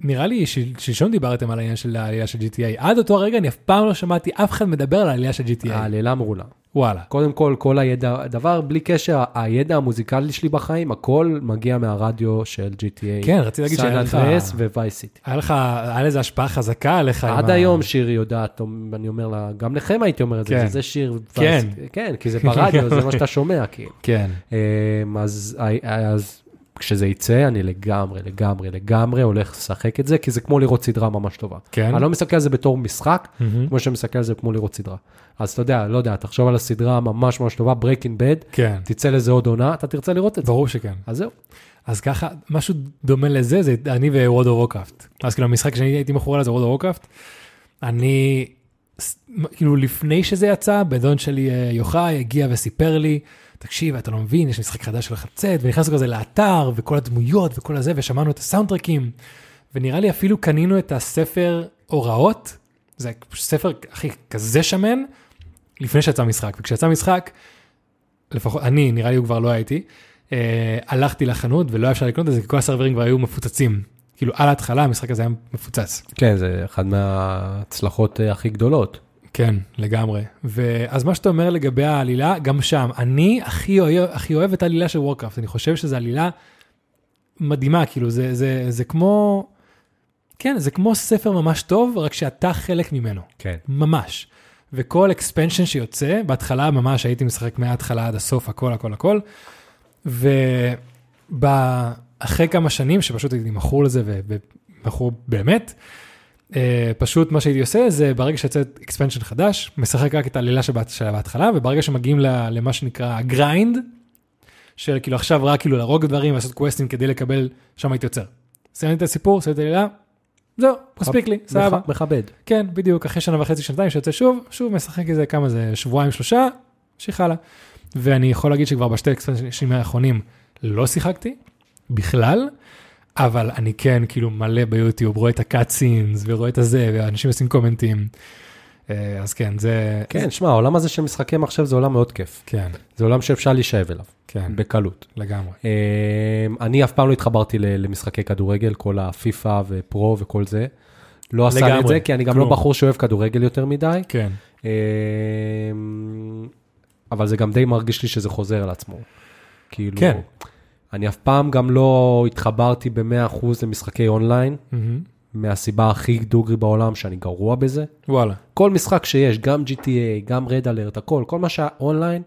[SPEAKER 1] נראה לי של- שלשום דיברתם על העניין של העלייה של GTA, עד אותו הרגע אני אף פעם לא שמעתי אף אחד מדבר על העלייה של GTA.
[SPEAKER 2] העלילה מעולה.
[SPEAKER 1] וואלה.
[SPEAKER 2] קודם כל, כל הידע, דבר בלי קשר, ה- הידע המוזיקלי שלי בחיים, הכל מגיע מהרדיו של GTA.
[SPEAKER 1] כן, רציתי להגיד שהיה לך-
[SPEAKER 2] סן אנדרס וווי סיטי.
[SPEAKER 1] היה לך, היה לזה השפעה חזקה עליך. עם
[SPEAKER 2] עד
[SPEAKER 1] ה-
[SPEAKER 2] היום שיר יודעת, אני אומר לה, גם לכם הייתי אומר את זה,
[SPEAKER 1] כן.
[SPEAKER 2] זה שיר Vice
[SPEAKER 1] כן.
[SPEAKER 2] City. כן, כי זה ברדיו, זה מה שאתה שומע, כאילו.
[SPEAKER 1] כן.
[SPEAKER 2] אמ, אז, ה- אז כשזה יצא, אני לגמרי, לגמרי, לגמרי הולך לשחק את זה, כי זה כמו לראות סדרה ממש טובה.
[SPEAKER 1] כן.
[SPEAKER 2] אני לא מסתכל על זה בתור משחק,
[SPEAKER 1] מהמם.
[SPEAKER 2] כמו שאני מסתכל על זה כמו לראות סדרה. אז אתה יודע, לא יודע, תחשוב על הסדרה הממש ממש טובה, Breaking Bad,
[SPEAKER 1] כן.
[SPEAKER 2] תצא לזה עוד עונה, אתה תרצה לראות את זה.
[SPEAKER 1] ברור שכן.
[SPEAKER 2] אז זהו.
[SPEAKER 1] אז ככה, משהו דומה לזה, זה אני וורד אוף וורקראפט. אז כאילו המשחק שאני הייתי מכור אליו זה וורד אוף וורקראפט. אני, ס- מ- כאילו לפני שזה יצא, בן דוד שלי אה, יוחאי הגיע וסיפר לי, תקשיב, אתה לא מבין, יש משחק חדש שהולך לצאת, ונכנסנו כזה לאתר, וכל הדמויות וכל הזה, ושמענו את הסאונדטרקים. ונראה לי אפילו קנינו את הספר הוראות, זה ספר, אחי, כזה שמן, לפני שיצא משחק. וכשיצא משחק, לפחות אני, נראה לי הוא כבר לא הייתי, אה, הלכתי לחנות ולא היה אפשר לקנות את זה, כי כל הסרברים כבר היו מפוצצים. כאילו על ההתחלה המשחק הזה היה מפוצץ.
[SPEAKER 2] כן, זה אחד מההצלחות אה, הכי גדולות.
[SPEAKER 1] כן, לגמרי. ואז מה שאתה אומר לגבי העלילה, גם שם, אני הכי אוהב, הכי אוהב את העלילה של וורקראפט, אני חושב שזו עלילה מדהימה, כאילו, זה, זה, זה כמו, כן, זה כמו ספר ממש טוב, רק שאתה חלק ממנו,
[SPEAKER 2] כן.
[SPEAKER 1] ממש. וכל אקספנשן שיוצא, בהתחלה ממש הייתי משחק מההתחלה עד הסוף, הכל, הכל, הכל. ואחרי כמה שנים, שפשוט הייתי מכור לזה, ו- ומכור באמת, אה, פשוט מה שהייתי עושה זה ברגע שיוצא אקספנשן חדש, משחק רק את העלילה שבת- שהיה בהתחלה, וברגע שמגיעים ל- למה שנקרא הגריינד, של כאילו עכשיו רק כאילו להרוג דברים, לעשות קווסטים כדי לקבל, שם הייתי עוצר. סיימתי את הסיפור, סיימתי את העלילה, זהו, מספיק
[SPEAKER 2] אוקיי.
[SPEAKER 1] לי, סבבה.
[SPEAKER 2] מכ- מכבד.
[SPEAKER 1] כן, בדיוק, אחרי שנה וחצי, שנתיים שיוצא שוב, שוב משחק איזה כמה זה, שבועיים, שלושה, המשיך הלאה. ואני יכול להגיד שכבר בשתי אקספנשנים האחרונים לא שיחקתי, בכלל, אבל אני כן כאילו מלא ביוטיוב, רואה את הקאט סינס, ורואה את הזה, ואנשים עושים קומנטים. אה, אז כן, זה...
[SPEAKER 2] כן, שמע, העולם הזה של משחקי מחשב זה עולם מאוד כיף.
[SPEAKER 1] כן,
[SPEAKER 2] זה עולם שאפשר להישאב אליו,
[SPEAKER 1] כן,
[SPEAKER 2] בקלות.
[SPEAKER 1] לגמרי.
[SPEAKER 2] אמ, אני אף פעם לא התחברתי ל- למשחקי כדורגל, כל הפיפא ופרו וכל זה. לא עשה לי את
[SPEAKER 1] לגמרי,
[SPEAKER 2] זה, כי אני גם לא
[SPEAKER 1] כלום.
[SPEAKER 2] בחור שאוהב כדורגל יותר מדי.
[SPEAKER 1] כן,
[SPEAKER 2] אמ, אבל זה גם די מרגיש לי שזה חוזר על עצמו. כאילו,
[SPEAKER 1] כן.
[SPEAKER 2] אני אף פעם גם לא התחברתי ב-100% למשחקי אונליין,
[SPEAKER 1] מהמם.
[SPEAKER 2] מהסיבה הכי דוגרי בעולם, שאני גרוע בזה.
[SPEAKER 1] וואלה,
[SPEAKER 2] כל משחק שיש, גם GTA, גם Red Alert, הכל, כל מה שהיה אונליין,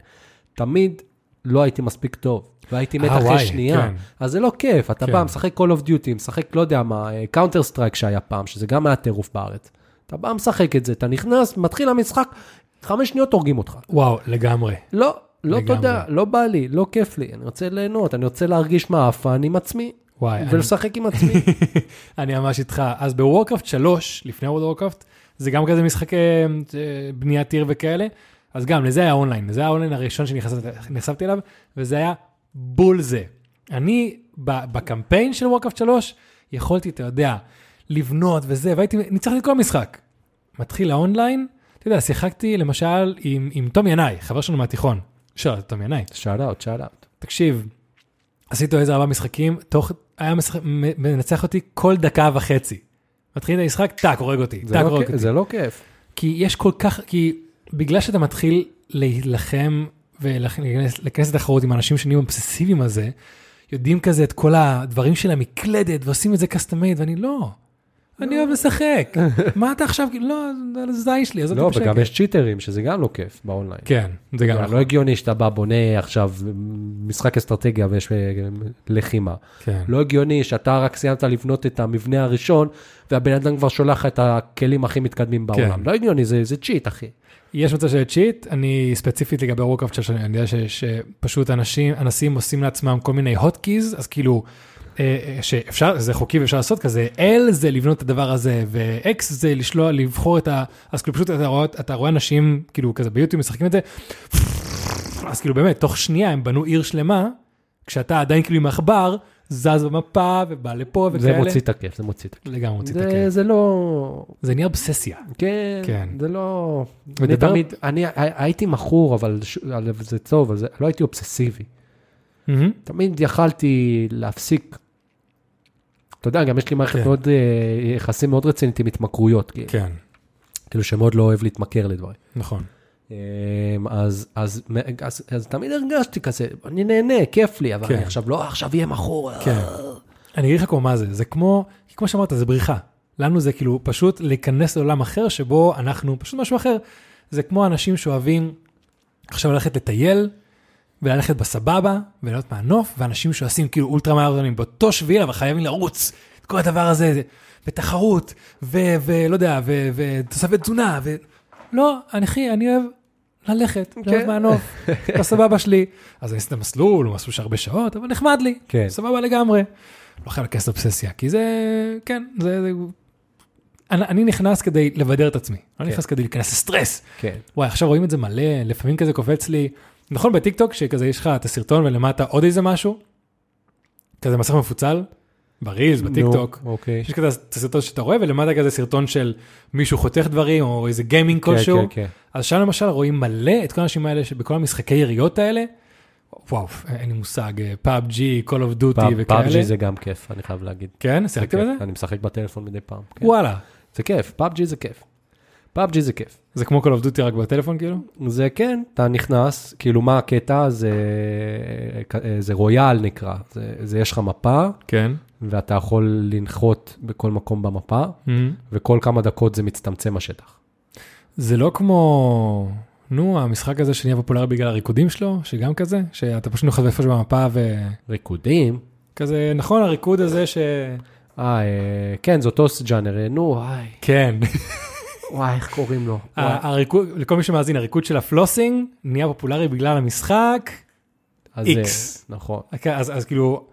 [SPEAKER 2] תמיד לא הייתי מספיק טוב. והייתי מת
[SPEAKER 1] אה,
[SPEAKER 2] אחרי
[SPEAKER 1] וואי,
[SPEAKER 2] שנייה.
[SPEAKER 1] כן.
[SPEAKER 2] אז זה לא כיף, אתה
[SPEAKER 1] כן.
[SPEAKER 2] בא, משחק Call of Duty, משחק, לא יודע מה, קאונטר סטרייק שהיה פעם, שזה גם היה טירוף בארץ. אתה בא, משחק את זה, אתה נכנס, מתחיל המשחק, חמש שניות הורגים אותך.
[SPEAKER 1] וואו, לגמרי.
[SPEAKER 2] לא, לא
[SPEAKER 1] לגמרי.
[SPEAKER 2] תודה, לא בא לי, לא כיף לי, אני רוצה ליהנות, אני רוצה להרגיש מעפן עם עצמי,
[SPEAKER 1] וואי, אה, אני-
[SPEAKER 2] ולשחק עם עצמי.
[SPEAKER 1] אני ממש איתך. אז בוורקראפט 3, לפני וורד וורקראפט, זה גם כזה משחק אה, אה, בניית עיר וכאלה, אז גם לזה היה אונליין, זה היה האונליין הראשון שנחשפתי אליו, וזה היה בול זה. אני ב- בקמפיין של וורקראפט 3, יכולתי, אתה יודע, לבנות וזה, והייתי, ניצחתי את כל המשחק. מתחיל האונליין, אתה יודע, שיחקתי למשל עם, עם תום ינאי, חבר שלנו מהתיכון. שאל, תום ינאי.
[SPEAKER 2] שאט אאוט, שאט אאוט.
[SPEAKER 1] תקשיב, עשיתי איזה ארבעה משחקים, תוך, היה משחק, מ- מנצח אותי כל דקה וחצי. מתחיל את המשחק, טאק, הורג אותי,
[SPEAKER 2] זה
[SPEAKER 1] טאק,
[SPEAKER 2] לא
[SPEAKER 1] הורג
[SPEAKER 2] כיף-
[SPEAKER 1] אותי.
[SPEAKER 2] זה לא כיף.
[SPEAKER 1] כי יש כל כך, כי בגלל שאתה מתחיל להילחם ולהיכנס לתחרות עם אנשים שנהיים אובססיביים על זה, יודעים כזה את כל הדברים של המקלדת ועושים את זה custom made, ואני לא. אני אוהב לשחק, מה אתה עכשיו, כאילו, לא, זה על הזין שלי, עזוב
[SPEAKER 2] לא,
[SPEAKER 1] אותי בשקט.
[SPEAKER 2] וגם יש צ'יטרים, שזה גם לא כיף באונליין.
[SPEAKER 1] כן, זה גם
[SPEAKER 2] גם
[SPEAKER 1] נכון.
[SPEAKER 2] לא הגיוני שאתה בא, בונה עכשיו משחק אסטרטגיה ויש אה, לחימה.
[SPEAKER 1] כן.
[SPEAKER 2] לא הגיוני שאתה רק סיימת לבנות את המבנה הראשון, והבן אדם כבר שולח לך את הכלים הכי
[SPEAKER 1] כן.
[SPEAKER 2] מתקדמים בעולם. לא הגיוני, זה זה צ'יט, אחי.
[SPEAKER 1] יש מצב של צ'יט, אני ספציפית לגבי וורקאפט של שנים, אני יודע ש- שפשוט אנשים, אנסים עושים לעצמם כל מיני הוטקיז, אז כאילו, אה, אה, שאפשר, זה חוקי ואפשר לעשות כזה, L זה לבנות את הדבר הזה, ו-X זה לשלוח, לבחור את ה... אז כאילו פשוט אתה רואה, אתה רואה אנשים, כאילו כזה ביוטיוב משחקים את זה, אז כאילו באמת, תוך שנייה הם בנו עיר שלמה, כשאתה עדיין כאילו עם עכבר, זז במפה ובא לפה וכאלה.
[SPEAKER 2] זה מוציא את הכיף, זה מוציא את הכיף.
[SPEAKER 1] לגמרי מוציא את
[SPEAKER 2] זה-
[SPEAKER 1] הכיף.
[SPEAKER 2] זה לא...
[SPEAKER 1] זה נהיה אובססיה.
[SPEAKER 2] כן,
[SPEAKER 1] כן.
[SPEAKER 2] זה לא... אני
[SPEAKER 1] ודבר-
[SPEAKER 2] תמיד, אני הי- הייתי מכור, אבל ש- אבל זה טוב, אבל זה- לא הייתי אובססיבי.
[SPEAKER 1] מהמם.
[SPEAKER 2] תמיד יכלתי להפסיק. אתה יודע, גם יש לי מערכת
[SPEAKER 1] כן.
[SPEAKER 2] מאוד, אה, יחסים מאוד רצינית עם התמכרויות, כאילו.
[SPEAKER 1] כן,
[SPEAKER 2] כאילו שמאוד לא אוהב להתמכר לדברים.
[SPEAKER 1] נכון.
[SPEAKER 2] אמ, אז, אז, אז, אז תמיד הרגשתי כזה, אני נהנה, כיף לי, אבל
[SPEAKER 1] כן.
[SPEAKER 2] כן. אני עכשיו לא, עכשיו יהיה מכור. אה.
[SPEAKER 1] כן. אני אגיד לך כמו מה זה, זה כמו, כי כמו שאמרת, זה בריחה. לנו זה כאילו פשוט להיכנס לעולם אחר שבו אנחנו פשוט משהו אחר. זה כמו אנשים שאוהבים עכשיו ללכת לטייל, וללכת בסבבה, וליהנות מהנוף, ואנשים שעושים כאילו אולטרה מרתונים באותו שביל, אבל חייבים לרוץ את כל הדבר הזה, זה- ותחרות, ו- ולא יודע, ו- ותוספת תזונה, ו... לא, אני אחי, אני אוהב ללכת,
[SPEAKER 2] כן.
[SPEAKER 1] ליהנות מהנוף, בסבבה שלי. אז אני אעשה את המסלול, הוא מסלול של הרבה שעות, אבל נחמד לי.
[SPEAKER 2] כן.
[SPEAKER 1] סבבה לגמרי. לא חייב להיכנס לאובססיה, כי זה, כן, זה... זה- אני, אני נכנס כדי לבדר את עצמי, לא נכנס כדי להיכנס לסטרס.
[SPEAKER 2] כן.
[SPEAKER 1] וואי, עכשיו רואים את זה מלא, לפעמים כזה קופץ לי, נכון בטיקטוק שכזה יש לך את הסרטון ולמטה עוד איזה משהו, כזה מסך מפוצל, ברילס, בטיקטוק,
[SPEAKER 2] נו, אוקיי.
[SPEAKER 1] יש כזה את הסרטון שאתה רואה ולמטה כזה סרטון של מישהו חותך דברים או איזה גיימינג
[SPEAKER 2] כן,
[SPEAKER 1] כלשהו,
[SPEAKER 2] כן, כן.
[SPEAKER 1] אז שם למשל רואים מלא את כל האנשים האלה שבכל המשחקי יריות האלה, וואו, אין לי מושג, פאב-ג'י, Call of Duty
[SPEAKER 2] פאב-
[SPEAKER 1] וכאלה.
[SPEAKER 2] פאבג'י זה גם כיף, אני חייב להגיד.
[SPEAKER 1] כן,
[SPEAKER 2] זה
[SPEAKER 1] שיחקת
[SPEAKER 2] כיף.
[SPEAKER 1] בזה?
[SPEAKER 2] אני משחק בטלפון מדי פעם. כן.
[SPEAKER 1] וואלה,
[SPEAKER 2] זה כיף, פאבג'י זה כיף. פאבג'י זה כיף.
[SPEAKER 1] זה כמו Call of Duty רק בטלפון כאילו?
[SPEAKER 2] זה כן, אתה נכנס, כאילו מה הקטע, זה, זה רויאל נקרא, זה, זה יש לך מפה,
[SPEAKER 1] כן.
[SPEAKER 2] ואתה יכול לנחות בכל מקום במפה,
[SPEAKER 1] Mm-hmm.
[SPEAKER 2] וכל כמה דקות זה מצטמצם השטח.
[SPEAKER 1] זה לא כמו, נו, המשחק הזה שנהיה פופולרי בגלל הריקודים שלו, שגם כזה, שאתה פשוט נוחת איפה שבמפה וכזה,
[SPEAKER 2] ריקודים,
[SPEAKER 1] נכון, הריקוד הזה ש...
[SPEAKER 2] אה, אה, כן, זה אותו ג'אנר, אה, נו, וואי,
[SPEAKER 1] כן,
[SPEAKER 2] וואי, איך קוראים לו? וואי.
[SPEAKER 1] ה- הריקוד, לכל מי שמאזין, הריקוד של הפלוסינג נהיה פופולרי בגלל המשחק,
[SPEAKER 2] אז,
[SPEAKER 1] X.
[SPEAKER 2] אה, נכון.
[SPEAKER 1] אז, אז כאילו,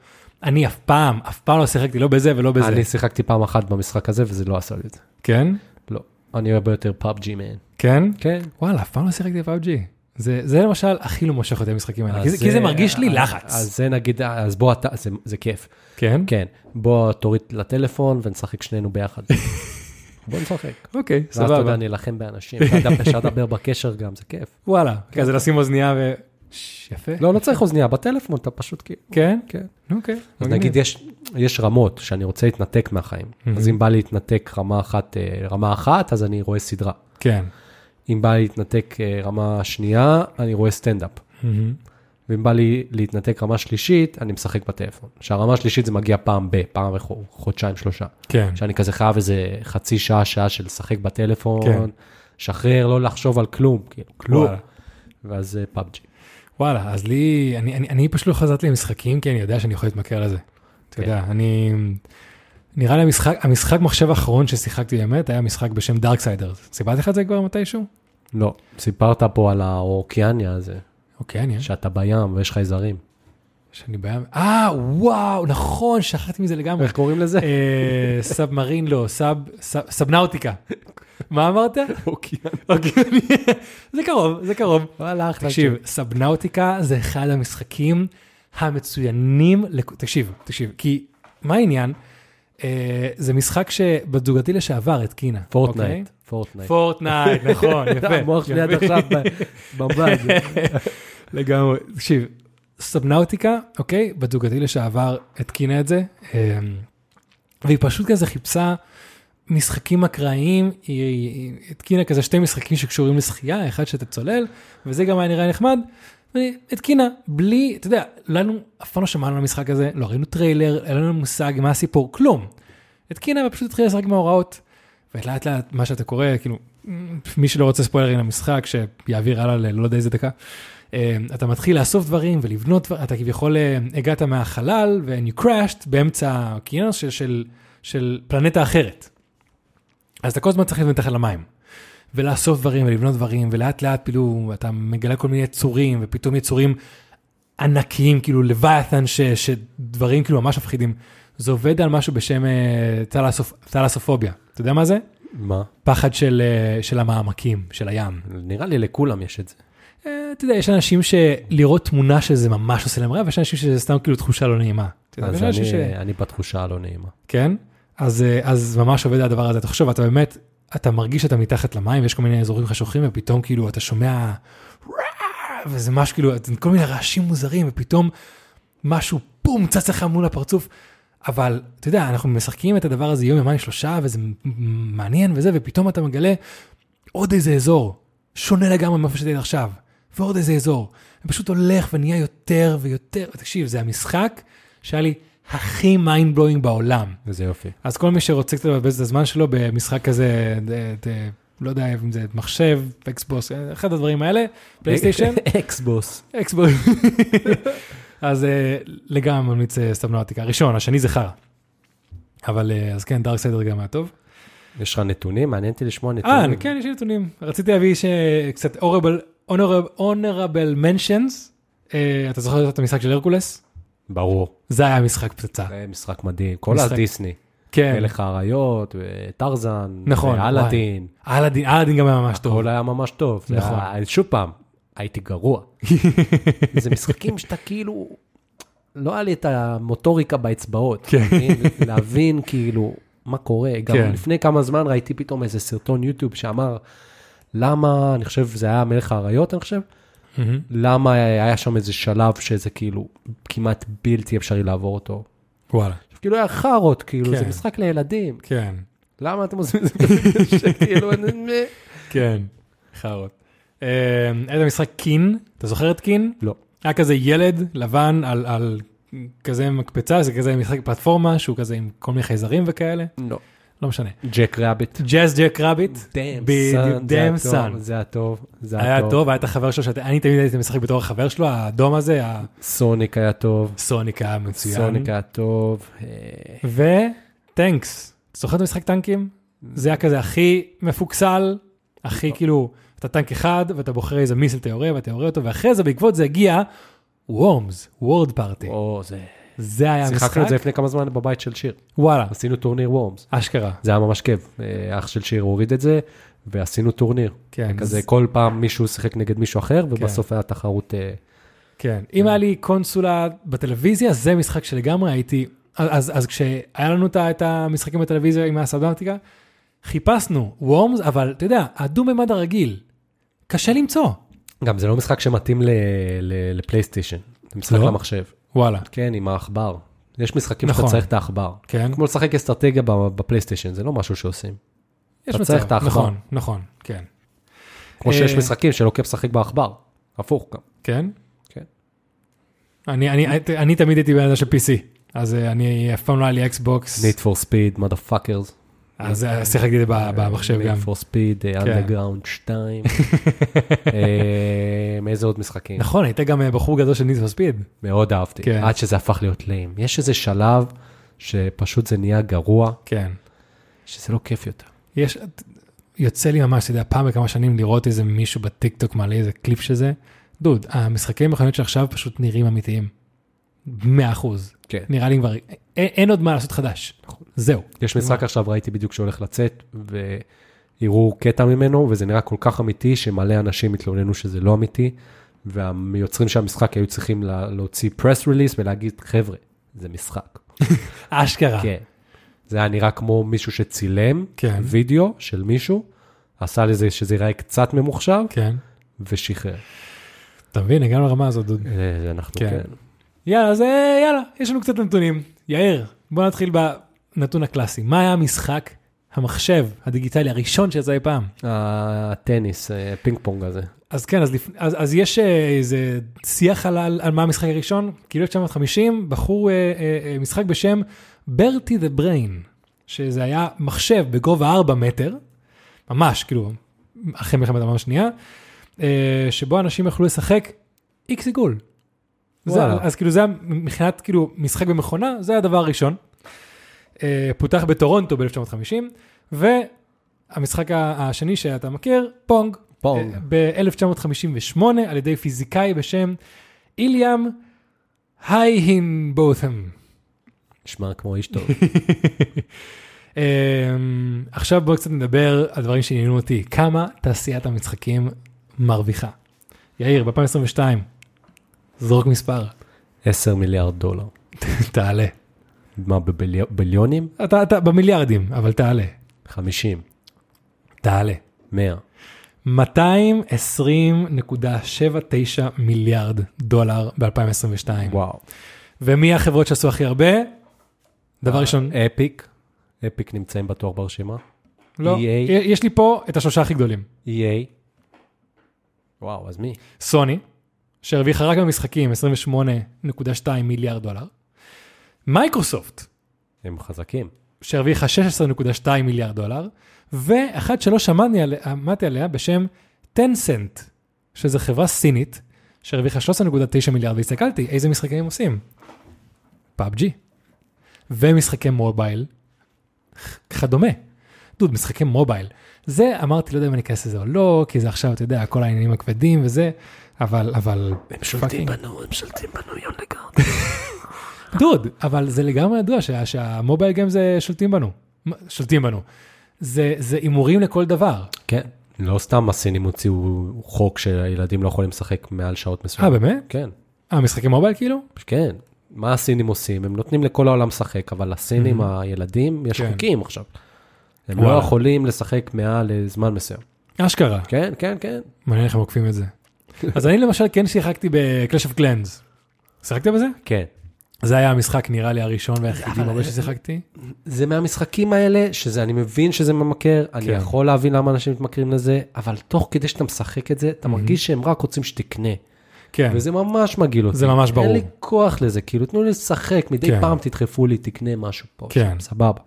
[SPEAKER 1] אני אף פעם, אף פעם לא שיחקתי לא בזה ולא בזה.
[SPEAKER 2] אני שיחקתי פעם אחת במשחק הזה, וזה לא עשה לי את זה.
[SPEAKER 1] כן?
[SPEAKER 2] לא. אני הרבה יותר פאבג'י מהן.
[SPEAKER 1] כן?
[SPEAKER 2] כן.
[SPEAKER 1] וואלה, אף פעם לא שיחקתי בפאבג'י. זה, זה למשל הכי לא מושך אותי המשחקים האלה, כי זה, כי זה מרגיש לי לחץ.
[SPEAKER 2] אה, אז זה נגיד, אז בוא אתה, זה, זה כיף.
[SPEAKER 1] כן?
[SPEAKER 2] כן, בוא תוריד לטלפון ונשחק שנינו ביחד. בוא נשחק.
[SPEAKER 1] אוקיי,
[SPEAKER 2] ואז אתה יודע,
[SPEAKER 1] סבבה.
[SPEAKER 2] נילחם באנשים, אפשר- אפשר לדבר בקשר גם, זה כיף.
[SPEAKER 1] וואלה, כזה לשים אוזנייה ו... ש, יפה.
[SPEAKER 2] כן. לא, לא צריך אוזניה, בטלפון אתה פשוט כאילו.
[SPEAKER 1] כן?
[SPEAKER 2] כן.
[SPEAKER 1] נו, אוקיי.
[SPEAKER 2] אז
[SPEAKER 1] מגניב.
[SPEAKER 2] נגיד יש, יש רמות שאני רוצה להתנתק מהחיים. אז אם בא לי להתנתק רמה אחת, אה, רמה אחת, אז אני רואה סדרה.
[SPEAKER 1] כן.
[SPEAKER 2] אם בא לי להתנתק אה, רמה שנייה, אני רואה סטנדאפ.
[SPEAKER 1] מהמם.
[SPEAKER 2] ואם בא לי להתנתק רמה שלישית, אני משחק בטלפון. שהרמה השלישית זה מגיע פעם ב, פעם בחודשיים, שלושה.
[SPEAKER 1] כן.
[SPEAKER 2] שאני כזה חייב איזה חצי שעה, שעה של לשחק בטלפון,
[SPEAKER 1] כן.
[SPEAKER 2] שחרר, לא לחשוב על כלום, כאילו, כלום.
[SPEAKER 1] וואלה.
[SPEAKER 2] ואז אה, זה פאבג'י.
[SPEAKER 1] וואלה, אז לי, אני, אני, אני פשוט לא חזרתי למשחקים, כי אני יודע שאני יכול להתמכר לזה. אתה
[SPEAKER 2] כן.
[SPEAKER 1] יודע, אני... נראה לי המשחק, המשחק מחשב האחרון ששיחקתי באמת היה משחק בשם דארקסיידר. סיפרתי לך את זה כבר מתישהו?
[SPEAKER 2] לא, סיפרת פה על האוקיאניה הזה,
[SPEAKER 1] אוקיי, אני...
[SPEAKER 2] שאתה בים ויש לך איזרים.
[SPEAKER 1] שאני בעיה... אה, וואו, נכון, שכחתי מזה לגמרי.
[SPEAKER 2] איך קוראים לזה?
[SPEAKER 1] אה, סאבמרין, לא, סאב, סאב- סאבנאוטיקה. מה אמרת?
[SPEAKER 2] אוקיאניה.
[SPEAKER 1] אוקיי, זה קרוב, זה קרוב.
[SPEAKER 2] וואלה, אחלה.
[SPEAKER 1] תקשיב, סבנאוטיקה זה אחד המשחקים המצוינים, לכ- תקשיב, תקשיב, כי מה העניין? אה, זה משחק שבתזוגתי לשעבר התקינה.
[SPEAKER 2] פורטנייט. פורטנייט.
[SPEAKER 1] פורטנייט, נכון, אוקיי? יפה.
[SPEAKER 2] המוח שלי עד
[SPEAKER 1] יפה.
[SPEAKER 2] עכשיו ב- במבט.
[SPEAKER 1] לגמרי. תקשיב, סבנאוטיקה, אוקיי, בדוגתי לשעבר התקינה את זה, אה, והיא פשוט כזה חיפשה משחקים אקראיים, היא- היא היא התקינה כזה שתי משחקים שקשורים לשחייה, אחד שאתה צולל, וזה גם היה נראה נחמד. והיא התקינה, בלי, אתה יודע, לנו, אף פעם לא שמענו על המשחק הזה, לא ראינו טריילר, אין לנו מושג מה הסיפור, כלום. התקינה ופשוט התחילה לשחק מההוראות. ולאט לאט מה שאתה קורא, כאילו, מי שלא רוצה ספוילרים למשחק, שיעביר הלאה ללא יודע איזה דקה. אה, אתה מתחיל לאסוף דברים ולבנות, דבר- אתה כביכול אה, הגעת מהחלל ו-you crashed באמצע האוקיינוס של, של, של פלנטה אחרת. אז אתה כל הזמן צריך להיות מתחת למים. ולאסוף דברים ולבנות דברים, ולאט לאט כאילו אתה מגלה כל מיני יצורים, ופתאום יצורים ענקיים, כאילו לוויתן, ש- שדברים כאילו ממש מפחידים. זה עובד על משהו בשם אה, תלסופ- תלסופוביה. אתה יודע מה זה?
[SPEAKER 2] מה?
[SPEAKER 1] פחד של, אה, של המעמקים, של הים.
[SPEAKER 2] נראה לי לכולם יש את זה.
[SPEAKER 1] אה, אתה יודע, יש אנשים שלראות תמונה של זה ממש עושה להם רע, ויש אנשים שזה סתם כאילו תחושה לא נעימה. אתה יודע,
[SPEAKER 2] אז
[SPEAKER 1] ויש אנשים
[SPEAKER 2] אני- אני בתחושה הלא נעימה.
[SPEAKER 1] כן? אז, אה, אז ממש עובד הדבר הזה. תחשוב, אתה באמת, אתה מרגיש שאתה מתחת למים, ויש כל מיני אזורים חשוכים, ופתאום כאילו אתה שומע... "רע", וזה משהו כאילו, זה כל מיני רעשים מוזרים, ופתאום משהו בום צץ לך מול הפרצוף. אבל אתה יודע, אנחנו משחקים את הדבר הזה יום, יומיים, שלושה, וזה מעניין וזה, ופתאום אתה מגלה עוד איזה אזור, שונה לגמרי מאיפה שאתה עכשיו, ועוד איזה אזור. ופשוט הולך ונהיה יותר ויותר, תקשיב, זה המשחק שהיה לי הכי מיינד בלואינג בעולם.
[SPEAKER 2] איזה יופי.
[SPEAKER 1] אז כל מי שרוצה קצת לבזבז את הזמן שלו במשחק כזה, ד- ד- לא יודע אם זה מחשב, אקסבוס, אחד הדברים האלה, פלייסטיישן,
[SPEAKER 2] אקסבוס.
[SPEAKER 1] אקסבוס. אז אה, לגמרי ממליץ אה, סטמנואטיקה, הראשון, השני זה חרא. אבל אה, אז כן, דארק סיידר גם היה טוב.
[SPEAKER 2] יש לך נתונים? מעניין אותי לשמוע
[SPEAKER 1] אה,
[SPEAKER 2] נתונים.
[SPEAKER 1] כן, יש לי נתונים. רציתי להביא שקצת honorable- honorable honorable mentions. אה, אתה זוכר את המשחק של הרקולס?
[SPEAKER 2] ברור.
[SPEAKER 1] זה היה משחק פצצה.
[SPEAKER 2] זה משחק מדהים. כל
[SPEAKER 1] משחק-
[SPEAKER 2] הדיסני.
[SPEAKER 1] כן.
[SPEAKER 2] כן. מלך האריות, טרזן,
[SPEAKER 1] נכון,
[SPEAKER 2] אלאדין.
[SPEAKER 1] אלאדין, אלאדין גם היה ממש טוב.
[SPEAKER 2] הכל היה ממש טוב. זה
[SPEAKER 1] נכון.
[SPEAKER 2] היה- שוב פעם, הייתי גרוע. זה משחקים שאתה כאילו, לא היה לי את המוטוריקה באצבעות.
[SPEAKER 1] כן.
[SPEAKER 2] אתה מבין? להבין כאילו מה קורה. גם
[SPEAKER 1] כן.
[SPEAKER 2] לפני כמה זמן ראיתי פתאום איזה סרטון יוטיוב שאמר, למה, אני חושב, זה היה מלך האריות, אני חושב,
[SPEAKER 1] מהמם.
[SPEAKER 2] למה היה שם איזה שלב שזה כאילו כמעט בלתי אפשרי לעבור אותו.
[SPEAKER 1] וואלה.
[SPEAKER 2] עכשיו, כאילו היה חארות, כאילו
[SPEAKER 1] כן.
[SPEAKER 2] זה משחק לילדים,
[SPEAKER 1] כן,
[SPEAKER 2] למה אתם עושים את זה כזה קשה, כאילו, אני-
[SPEAKER 1] כן, חארות. אה, איזה משחק קין, אתה זוכר את קין?
[SPEAKER 2] לא.
[SPEAKER 1] היה כזה ילד לבן על, על כזה מקפצה, זה כזה משחק פלטפורמה שהוא כזה עם כל מיני חייזרים וכאלה,
[SPEAKER 2] לא.
[SPEAKER 1] לא משנה.
[SPEAKER 2] ג'ק רביט.
[SPEAKER 1] ג'אז ג'ק רביט, בדיוק, דאם סאן.
[SPEAKER 2] זה היה טוב, זה
[SPEAKER 1] היה טוב, היה את החבר שלו, שאתה- אני תמיד הייתי משחק בתור החבר שלו, האדום הזה,
[SPEAKER 2] סוניק היה טוב,
[SPEAKER 1] הסוניק היה מצוין.
[SPEAKER 2] סוניק היה טוב. אה,
[SPEAKER 1] וטנקס, אתה זוכר את המשחק טנקים? זה היה כזה הכי מפוקסל,
[SPEAKER 2] לא.
[SPEAKER 1] הכי כאילו, אתה טנק אחד ואתה בוחר איזה מיסל אתה יורה ואתה יורה אותו, ואחרי זה בעקבות זה הגיע וורמס, וורד פארטי.
[SPEAKER 2] או, זה...
[SPEAKER 1] זה היה אה, המשחק,
[SPEAKER 2] שיחקנו את זה לפני כמה זמן בבית של שיר,
[SPEAKER 1] וואלה,
[SPEAKER 2] עשינו טורניר וורמס.
[SPEAKER 1] אשכרה.
[SPEAKER 2] זה היה ממש כיף, אה, אח של שיר הוריד את זה, ועשינו טורניר.
[SPEAKER 1] כן,
[SPEAKER 2] כזה
[SPEAKER 1] אז-
[SPEAKER 2] כל פעם מישהו שיחק נגד מישהו אחר, ובסוף היה תחרות... אה,
[SPEAKER 1] כן. אם היה לי קונסולה בטלוויזיה, זה משחק שלגמרי הייתי... אז, אז, אז כשהיה לנו את ה- את המשחקים בטלוויזיה עם הסאבנטיקה, חיפשנו וורמס, אבל אתה יודע, הדו-ממד הרגיל, קשה למצוא.
[SPEAKER 2] גם זה לא משחק שמתאים ל- ל- לפלייסטיישן, זה משחק
[SPEAKER 1] לא?
[SPEAKER 2] למחשב.
[SPEAKER 1] וואלה.
[SPEAKER 2] כן, עם העכבר. יש משחקים
[SPEAKER 1] נכון.
[SPEAKER 2] שאתה צריך את העכבר.
[SPEAKER 1] כן.
[SPEAKER 2] כמו לשחק אסטרטגיה ב- בפלייסטיישן, זה לא משהו שעושים.
[SPEAKER 1] יש
[SPEAKER 2] אתה צריך את העכבר.
[SPEAKER 1] נכון, נכון, כן.
[SPEAKER 2] כמו
[SPEAKER 1] אה,
[SPEAKER 2] שיש משחקים שלא כיף לשחק בעכבר, הפוך גם.
[SPEAKER 1] כן?
[SPEAKER 2] כן.
[SPEAKER 1] אני, אני, אני, אני תמיד הייתי בן אדם של PC, אז אה, אני אף פעם לא היה לי אקסבוקס,
[SPEAKER 2] need for speed, mother fuckers.
[SPEAKER 1] אז אה, שיחקתי את זה ב- במחשב גם.
[SPEAKER 2] need for speed, אה,
[SPEAKER 1] כן.
[SPEAKER 2] underground 2. אה, איזה עוד משחקים?
[SPEAKER 1] נכון, היית גם אה, בחור גדול של ניד וספיד.
[SPEAKER 2] מאוד אהבתי,
[SPEAKER 1] כן.
[SPEAKER 2] עד שזה הפך להיות ליים. יש איזה שלב שפשוט זה נהיה גרוע,
[SPEAKER 1] כן.
[SPEAKER 2] שזה לא כיף יותר.
[SPEAKER 1] יש, את- יוצא לי ממש, אתה יודע, פעם בכמה שנים לראות איזה מישהו בטיקטוק מעלה איזה קליפ שזה. דוד, המשחקי מכוניות שעכשיו פשוט נראים אמיתיים. 100 אחוז.
[SPEAKER 2] כן. נכון.
[SPEAKER 1] נראה לי כבר, אין, אין עוד מה לעשות חדש. זהו.
[SPEAKER 2] יש משחק עכשיו, ראיתי בדיוק שהולך לצאת, והראו קטע ממנו, וזה נראה כל כך אמיתי, שמלא אנשים התלוננו שזה לא אמיתי, והיוצרים של המשחק היו צריכים לה, להוציא press release ולהגיד, חבר'ה, זה משחק.
[SPEAKER 1] אשכרה.
[SPEAKER 2] כן. זה היה נראה כמו מישהו שצילם
[SPEAKER 1] כן.
[SPEAKER 2] וידאו של מישהו, עשה לזה שזה ייראה קצת ממוחשב,
[SPEAKER 1] כן.
[SPEAKER 2] ושחרר.
[SPEAKER 1] אתה מבין, הגענו לרמה הזאת, דוד.
[SPEAKER 2] אה, זה אנחנו,
[SPEAKER 1] כן.
[SPEAKER 2] כן.
[SPEAKER 1] יאללה, אז אה, יאללה, יש לנו קצת נתונים. יאיר, בוא נתחיל בנתון הקלאסי. מה היה המשחק המחשב הדיגיטלי הראשון שיצא אי פעם?
[SPEAKER 2] הטניס, אה, פינג פונג הזה.
[SPEAKER 1] אז כן, אז, לפ... אז, אז יש אה, איזה שיח על, על, על מה המשחק הראשון, כאילו 1950, בחור, אה, אה, אה, משחק בשם ברטי דה בריין, שזה היה מחשב בגובה 4 מטר, ממש, כאילו, אחרי מלחמת העולם השנייה, אה, שבו אנשים יכלו לשחק איקס עיגול. זה,
[SPEAKER 2] וואלה.
[SPEAKER 1] אז כאילו זה היה מבחינת כאילו משחק במכונה, זה הדבר הראשון. אה, פותח בטורונטו ב-1950, והמשחק ה- השני שאתה מכיר, פונג,
[SPEAKER 2] פונג.
[SPEAKER 1] אה, ב-1958 על ידי פיזיקאי בשם איליאם הייהינבות'ם.
[SPEAKER 2] נשמע כמו איש טוב.
[SPEAKER 1] אמ, עכשיו בואו קצת נדבר על דברים שעניינו אותי. כמה תעשיית המשחקים מרוויחה? יאיר, ב-2022, זרוק מספר,
[SPEAKER 2] 10 מיליארד דולר.
[SPEAKER 1] תעלה.
[SPEAKER 2] מה, בביליונים?
[SPEAKER 1] אתה, אתה במיליארדים, אבל תעלה.
[SPEAKER 2] 50,
[SPEAKER 1] תעלה.
[SPEAKER 2] 100.
[SPEAKER 1] 220.79 מיליארד דולר ב-2022.
[SPEAKER 2] וואו.
[SPEAKER 1] ומי החברות שעשו הכי הרבה?
[SPEAKER 2] אה,
[SPEAKER 1] דבר ראשון,
[SPEAKER 2] אפיק, אפיק נמצאים בטוח ברשימה. E
[SPEAKER 1] לא,
[SPEAKER 2] EA.
[SPEAKER 1] יש לי פה את השלושה הכי גדולים.
[SPEAKER 2] EA. וואו, אז מי?
[SPEAKER 1] סוני, שהרוויחה רק במשחקים 28.2 מיליארד דולר. מייקרוסופט,
[SPEAKER 2] הם חזקים.
[SPEAKER 1] שהרוויחה 16.2 מיליארד דולר. ואחת שלא שמעתי עליה, עמדתי עליה בשם טנסנט, שזו חברה סינית, שהרוויחה 13.9 מיליארד, והסתכלתי איזה משחקים הם עושים. פאבג'י. ומשחקי מובייל, כדומה. דוד, משחקי מובייל. זה, אמרתי, לא יודע אם אני אכנס לזה או לא, כי זה עכשיו, אתה יודע, כל העניינים הכבדים וזה, אבל, אבל... הם
[SPEAKER 2] בנו, הם שולטים בנו יום לגמרי.
[SPEAKER 1] דוד, אבל זה לגמרי ידוע שה, שהמובייל גיים זה שולטים בנו. מה- שולטים בנו. זה זה הימורים לכל דבר.
[SPEAKER 2] כן. לא סתם הסינים הוציאו חוק שהילדים לא יכולים לשחק מעל שעות
[SPEAKER 1] אה,
[SPEAKER 2] מסוימות.
[SPEAKER 1] באמת?
[SPEAKER 2] כן,
[SPEAKER 1] אה, משחקי מובייל כאילו?
[SPEAKER 2] כן. מה הסינים עושים? הם נותנים לכל העולם לשחק, אבל הסינים, הילדים, יש
[SPEAKER 1] כן.
[SPEAKER 2] חוקים עכשיו. הם
[SPEAKER 1] וואלה.
[SPEAKER 2] לא יכולים לשחק מעל אה, זמן מסוים.
[SPEAKER 1] אשכרה.
[SPEAKER 2] כן, כן, כן.
[SPEAKER 1] מעניין איך הם עוקפים את זה. אז אני למשל כן שיחקתי בקלאש אוף גלנדס. שיחקת בזה?
[SPEAKER 2] כן.
[SPEAKER 1] זה היה המשחק נראה לי הראשון והיחידי
[SPEAKER 2] אבל-
[SPEAKER 1] הרבה ששיחקתי.
[SPEAKER 2] זה מהמשחקים האלה, שזה, אני מבין שזה ממכר, אני
[SPEAKER 1] כן.
[SPEAKER 2] יכול להבין למה אנשים מתמכרים לזה, אבל תוך כדי שאתה משחק את זה, אתה מרגיש שהם רק רוצים שתקנה.
[SPEAKER 1] כן,
[SPEAKER 2] וזה ממש מגעיל אותי.
[SPEAKER 1] זה ממש ברור.
[SPEAKER 2] אין לי כוח לזה, כאילו, תנו לי לשחק, מדי
[SPEAKER 1] כן.
[SPEAKER 2] פעם תדחפו לי, תקנה משהו פה,
[SPEAKER 1] כן.
[SPEAKER 2] שם, סבבה.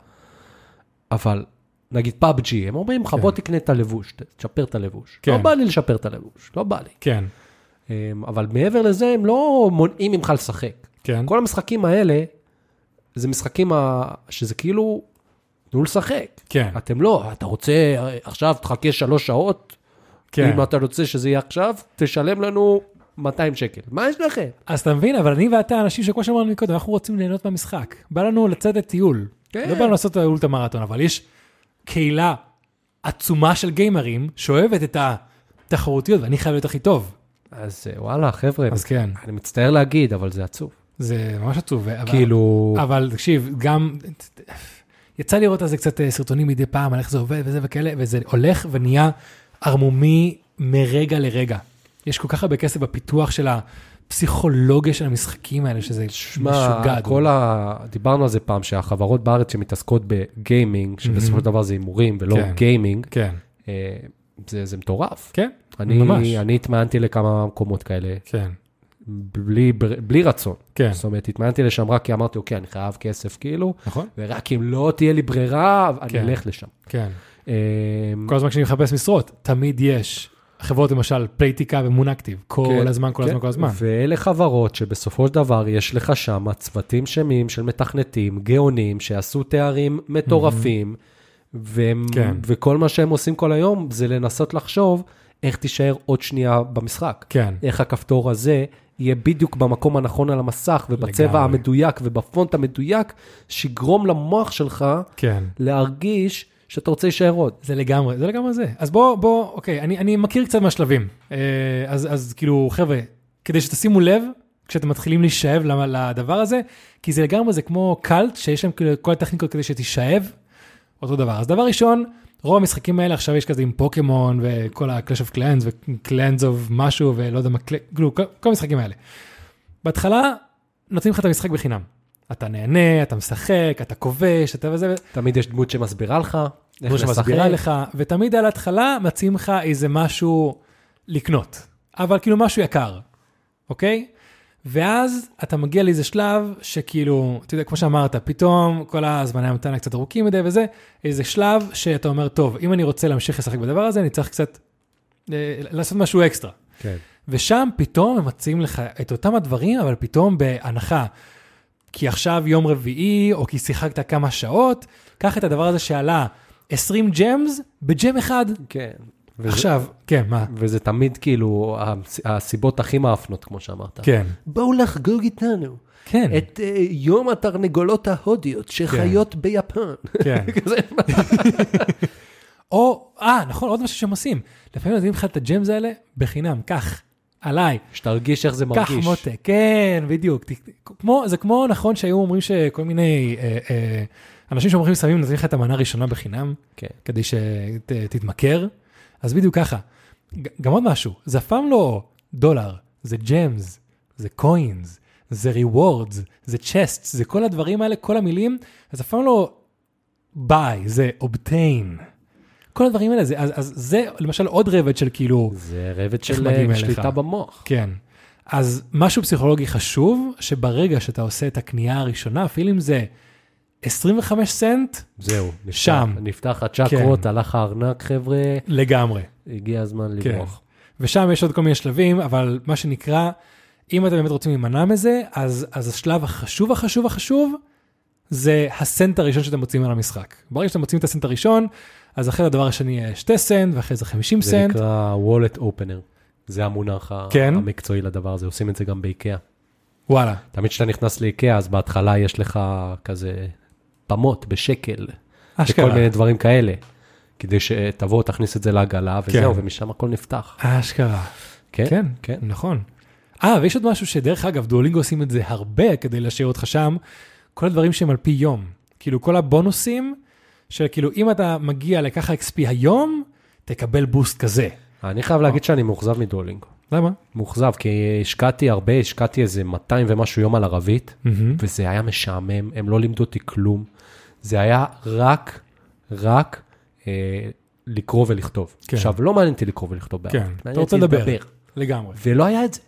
[SPEAKER 2] אבל, נגיד פאבג'י, הם אומרים לך, בוא תקנה את הלבוש, ת- תשפר את הלבוש.
[SPEAKER 1] כן.
[SPEAKER 2] לא בא לי לשפר את הלבוש, לא בא לי.
[SPEAKER 1] כן,
[SPEAKER 2] אמ, אבל מעבר לזה, הם לא מונעים ממך לשחק.
[SPEAKER 1] כן.
[SPEAKER 2] כל המשחקים האלה, זה משחקים ה... שזה כאילו, תנו לשחק.
[SPEAKER 1] כן,
[SPEAKER 2] אתם לא, אתה רוצה אה, עכשיו, תחכה שלוש שעות,
[SPEAKER 1] כן.
[SPEAKER 2] אם אתה רוצה שזה יהיה עכשיו, תשלם לנו 200 שקל. מה יש לכם?
[SPEAKER 1] אז אתה מבין, אבל אני ואתה אנשים שכמו שאמרנו מקודם, אנחנו רוצים ליהנות מהמשחק. בא לנו לצאת לטיול.
[SPEAKER 2] כן.
[SPEAKER 1] לא בא לנו לעשות טיול את המרתון, אבל יש קהילה עצומה של גיימרים שאוהבת את התחרותיות, ואני חייב להיות הכי טוב.
[SPEAKER 2] אז אה, וואלה, חבר'ה,
[SPEAKER 1] אז כן,
[SPEAKER 2] אני מצטער להגיד, אבל זה עצוב.
[SPEAKER 1] זה ממש עצוב. אבל-
[SPEAKER 2] כאילו,
[SPEAKER 1] אבל תקשיב, גם... יצא לי לראות על זה קצת אה, סרטונים מדי פעם, על איך זה עובד וזה וכאלה, וזה הולך ונהיה ערמומי מרגע לרגע. יש כל כך הרבה כסף בפיתוח של הפסיכולוגיה של המשחקים האלה, שזה
[SPEAKER 2] שמע,
[SPEAKER 1] משוגע.
[SPEAKER 2] כל ה... דיברנו על זה פעם, שהחברות בארץ שמתעסקות בגיימינג, שבסופו של דבר זה הימורים ולא
[SPEAKER 1] כן.
[SPEAKER 2] גיימינג,
[SPEAKER 1] כן,
[SPEAKER 2] אה, זה זה מטורף.
[SPEAKER 1] כן, ממש.
[SPEAKER 2] אני אני התמאנתי לכמה מקומות כאלה,
[SPEAKER 1] כן,
[SPEAKER 2] בלי בלי רצון.
[SPEAKER 1] כן,
[SPEAKER 2] זאת אומרת, התמאנתי לשם רק כי אמרתי, אוקיי, אני חייב כסף, כאילו,
[SPEAKER 1] נכון,
[SPEAKER 2] ורק אם לא תהיה לי ברירה, אני
[SPEAKER 1] כן.
[SPEAKER 2] אלך לשם.
[SPEAKER 1] כן.
[SPEAKER 2] אה,
[SPEAKER 1] כל הזמן כשאני מחפש משרות, תמיד יש. חברות למשל, פלייטיקה ומונקטיב, כל
[SPEAKER 2] כן,
[SPEAKER 1] הזמן, כל
[SPEAKER 2] כן.
[SPEAKER 1] הזמן, כל הזמן.
[SPEAKER 2] ואלה חברות שבסופו של דבר יש לך שם צוותים שלמים של מתכנתים, גאונים, שעשו תארים מטורפים, והם,
[SPEAKER 1] כן.
[SPEAKER 2] וכל מה שהם עושים כל היום זה לנסות לחשוב איך תישאר עוד שנייה במשחק.
[SPEAKER 1] כן,
[SPEAKER 2] איך הכפתור הזה יהיה בדיוק במקום הנכון על המסך, ובצבע
[SPEAKER 1] לגמרי.
[SPEAKER 2] המדויק ובפונט המדויק, שיגרום למוח שלך
[SPEAKER 1] כן.
[SPEAKER 2] להרגיש שאתה רוצה להישאר עוד.
[SPEAKER 1] זה לגמרי, זה לגמרי זה. אז בוא, בוא, אוקיי, אני, אני מכיר קצת מהשלבים. אה, אז, אז כאילו, חבר'ה, כדי שתשימו לב, כשאתם מתחילים להישאב למ- לדבר הזה, כי זה לגמרי, זה כמו קאלט, שיש להם כאילו כל הטכניקות כדי שתישאב, אותו דבר. אז דבר ראשון, רוב המשחקים האלה עכשיו יש כזה עם פוקימון וכל ה-Clash of Clans ו-Clans of משהו ולא יודע מה, Cl- כאילו, כל, כל המשחקים האלה. בהתחלה נותנים לך את המשחק בחינם. אתה נהנה, אתה משחק, אתה כובש, אתה וזה,
[SPEAKER 2] תמיד יש דמות שמסבירה לך איך
[SPEAKER 1] כמו שמסבירה
[SPEAKER 2] לשחק.
[SPEAKER 1] לך, ותמיד על ההתחלה מציעים לך איזה משהו לקנות, אבל כאילו משהו יקר, אוקיי? ואז אתה מגיע לאיזה שלב שכאילו, אתה יודע, כמו שאמרת, פתאום כל הזמני המתנה קצת ארוכים מדי וזה, איזה שלב שאתה אומר, טוב, אם אני רוצה להמשיך לשחק בדבר הזה, אני צריך קצת אה, לעשות משהו אקסטרה.
[SPEAKER 2] כן.
[SPEAKER 1] ושם פתאום הם מציעים לך את אותם הדברים, אבל פתאום בהנחה. כי עכשיו יום רביעי, או כי שיחקת כמה שעות, קח את הדבר הזה שעלה 20 ג'מס בג'ם אחד.
[SPEAKER 2] כן. וזה-
[SPEAKER 1] עכשיו, כן, מה?
[SPEAKER 2] וזה תמיד כאילו הס- הסיבות הכי מאפנות, כמו שאמרת.
[SPEAKER 1] כן.
[SPEAKER 2] בואו לחגוג איתנו
[SPEAKER 1] כן,
[SPEAKER 2] את אה, יום התרנגולות ההודיות שחיות ביפן.
[SPEAKER 1] כן.
[SPEAKER 2] כזה,
[SPEAKER 1] או, אה, נכון, עוד משהו שהם עושים. לפעמים נותנים לך את הג'מס האלה בחינם, קח, עליי.
[SPEAKER 2] שתרגיש איך זה מרגיש.
[SPEAKER 1] קח מותק, כן, בדיוק. ת- ת- כמו, זה כמו נכון שהיו אומרים שכל מיני אה, אה, אנשים שאומרים סמים נותנים לך את המנה הראשונה בחינם,
[SPEAKER 2] כן.
[SPEAKER 1] כדי שתתמכר, אז בדיוק ככה. ג- גם עוד משהו, זה אף פעם לא דולר, זה ג'מס, זה קוינס, זה ריוורדס, זה צ'סטס, זה כל הדברים האלה, כל המילים, אז אף פעם לא ביי, זה אובטיין. כל הדברים האלה, זה, אז, אז זה למשל עוד רבד של כאילו...
[SPEAKER 2] זה רבד של
[SPEAKER 1] מגיעים
[SPEAKER 2] אה,
[SPEAKER 1] אליך?
[SPEAKER 2] שליטה במוח.
[SPEAKER 1] כן. אז משהו פסיכולוגי חשוב, שברגע שאתה עושה את הקנייה הראשונה, אפילו אם זה 25 סנט,
[SPEAKER 2] זהו. נפתח-
[SPEAKER 1] שם.
[SPEAKER 2] נפתח הצ'קרות,
[SPEAKER 1] כן.
[SPEAKER 2] הלך הארנק, חבר'ה,
[SPEAKER 1] לגמרי.
[SPEAKER 2] הגיע הזמן
[SPEAKER 1] כן.
[SPEAKER 2] לברוח.
[SPEAKER 1] ושם יש עוד כל מיני שלבים, אבל מה שנקרא, אם אתם באמת רוצים להימנע מזה, אז, אז השלב החשוב החשוב החשוב, זה הסנט הראשון שאתם מוצאים על המשחק. ברגע שאתם מוצאים את הסנט הראשון, אז אחרי הדבר השני יהיה 2 סנט, ואחרי זה 50
[SPEAKER 2] זה
[SPEAKER 1] סנט.
[SPEAKER 2] נקרא וולט אופנר. זה המונח ה-
[SPEAKER 1] כן.
[SPEAKER 2] המקצועי לדבר הזה, עושים את זה גם באיקאה.
[SPEAKER 1] וואלה,
[SPEAKER 2] תמיד כשאתה נכנס לאיקאה, אז בהתחלה יש לך כזה פמות בשקל,
[SPEAKER 1] אשכרה.
[SPEAKER 2] וכל מיני דברים כאלה, כדי שתבוא, תכניס את זה לעגלה, וזהו,
[SPEAKER 1] כן.
[SPEAKER 2] ומשם הכל נפתח.
[SPEAKER 1] אשכרה.
[SPEAKER 2] כן?
[SPEAKER 1] כן,
[SPEAKER 2] כן.
[SPEAKER 1] נכון. אה, ויש עוד משהו שדרך אגב, דואלינגו עושים את זה הרבה כדי להשאיר אותך שם, כל הדברים שהם על פי יום. כאילו, כל הבונוסים, של כאילו, אם אתה מגיע לככה XP היום, תקבל בוסט כזה. אה.
[SPEAKER 2] אני חייב להגיד שאני מאוכזב מדולינג.
[SPEAKER 1] למה?
[SPEAKER 2] מאוכזב, כי השקעתי הרבה, השקעתי איזה 200 ומשהו יום על ערבית,
[SPEAKER 1] מהמם.
[SPEAKER 2] וזה היה משעמם, הם לא לימדו אותי כלום. זה היה רק, רק אה, לקרוא ולכתוב.
[SPEAKER 1] כן.
[SPEAKER 2] עכשיו, לא מעניין אותי לקרוא ולכתוב בערבית,
[SPEAKER 1] כן,
[SPEAKER 2] מעניין
[SPEAKER 1] אתה רוצה
[SPEAKER 2] אותי
[SPEAKER 1] לדבר. לגמרי.
[SPEAKER 2] ולא היה את זה.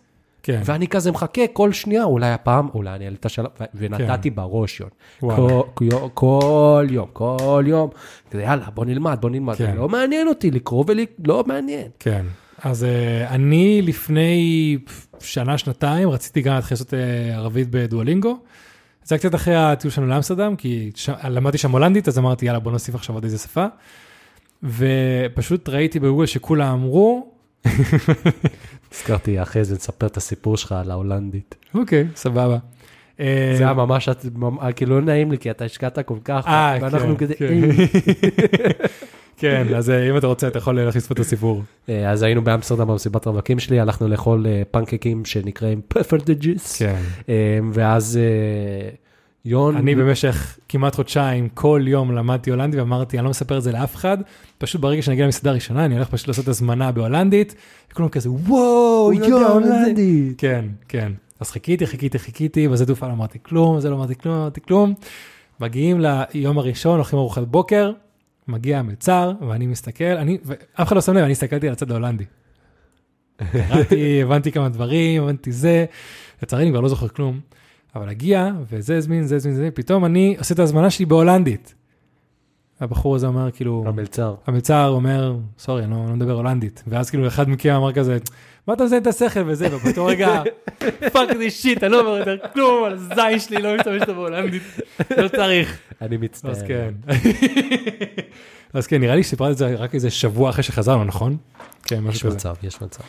[SPEAKER 1] כן.
[SPEAKER 2] ואני כזה מחכה כל שנייה, אולי הפעם, אולי אני אעלה את השלב, ו- ונתתי בראש יום.
[SPEAKER 1] וואו.
[SPEAKER 2] כל- כל- כל יום, כל יום. כזה, יאללה, בוא נלמד, בוא נלמד.
[SPEAKER 1] כן.
[SPEAKER 2] לא מעניין אותי לקרוא ול... לא מעניין.
[SPEAKER 1] כן. אז אה, אני לפני שנה, שנתיים, רציתי גם להתחיל לעשות אה, ערבית בדואלינגו. זה היה קצת אחרי הטיול שלנו לאמסטרדם, כי ש... למדתי שם הולנדית, אז אמרתי, יאללה, בוא נוסיף עכשיו עוד איזה שפה. ופשוט ראיתי בגוגל שכולם אמרו,
[SPEAKER 2] הזכרתי אחרי זה, נספר את הסיפור שלך על ההולנדית.
[SPEAKER 1] אוקיי, סבבה. אה,
[SPEAKER 2] זה היה ממש, את- ממ- כאילו לא נעים לי, כי אתה השקעת כל כך,
[SPEAKER 1] אה,
[SPEAKER 2] ואנחנו
[SPEAKER 1] כן,
[SPEAKER 2] כזה... "אה."
[SPEAKER 1] כן. כן, אז אה, אם אתה רוצה, אתה יכול ללכת לצפות את הסיפור.
[SPEAKER 2] אה, אז היינו באמסטרדם במסיבת רווקים שלי, הלכנו לאכול אה, פנקקים שנקראים פפרדג'יס,
[SPEAKER 1] כן.
[SPEAKER 2] ואז אה, יון...
[SPEAKER 1] אני במשך כמעט חודשיים, כל יום למדתי הולנדית ואמרתי, אני לא מספר את זה לאף אחד, פשוט ברגע שנגיע למסעדה הראשונה, אני הולך פשוט לעשות הזמנה בהולנדית, וכולם כזה, וואו,
[SPEAKER 2] הוא לא יודע
[SPEAKER 1] יואו, הולנדית.
[SPEAKER 2] הולנדית.
[SPEAKER 1] כן, כן. אז חיכיתי, חיכיתי, חיכיתי, בזה תעופה לא אמרתי כלום, זה לא אמרתי כלום, לא אמרתי כלום. מגיעים ליום הראשון, הולכים ארוחת בוקר, מגיע המלצר, ואני מסתכל, אני, ואף אחד לא שם לב, אני הסתכלתי על הצד ההולנדי. קראתי, הבנתי כמה דברים, הבנתי זה, לצערי אני כבר לא זוכר כלום. אבל הגיע, וזה הזמין, זה הזמין, זה הזמין, פתאום אני עושה את ההזמנה שלי בהולנדית. הבחור הזה אומר, כאילו,
[SPEAKER 2] המלצר.
[SPEAKER 1] המלצר אומר, סורי, אני לא, לא מדבר הולנדית. ואז כאילו אחד מכם אמר כזה, מה אתה מזיין את השכל וזה, ובאותו רגע, פאק זה שיט, אני לא אומר יותר כלום, על הזין שלי לא משתמש בו בהולנדית, לא צריך.
[SPEAKER 2] אני
[SPEAKER 1] אז
[SPEAKER 2] מצטער.
[SPEAKER 1] כן. אז כן, נראה לי שסיפרת את זה רק איזה שבוע אחרי שחזרנו, נכון? כן,
[SPEAKER 2] יש
[SPEAKER 1] משהו כזה.
[SPEAKER 2] מצב, יש מצב.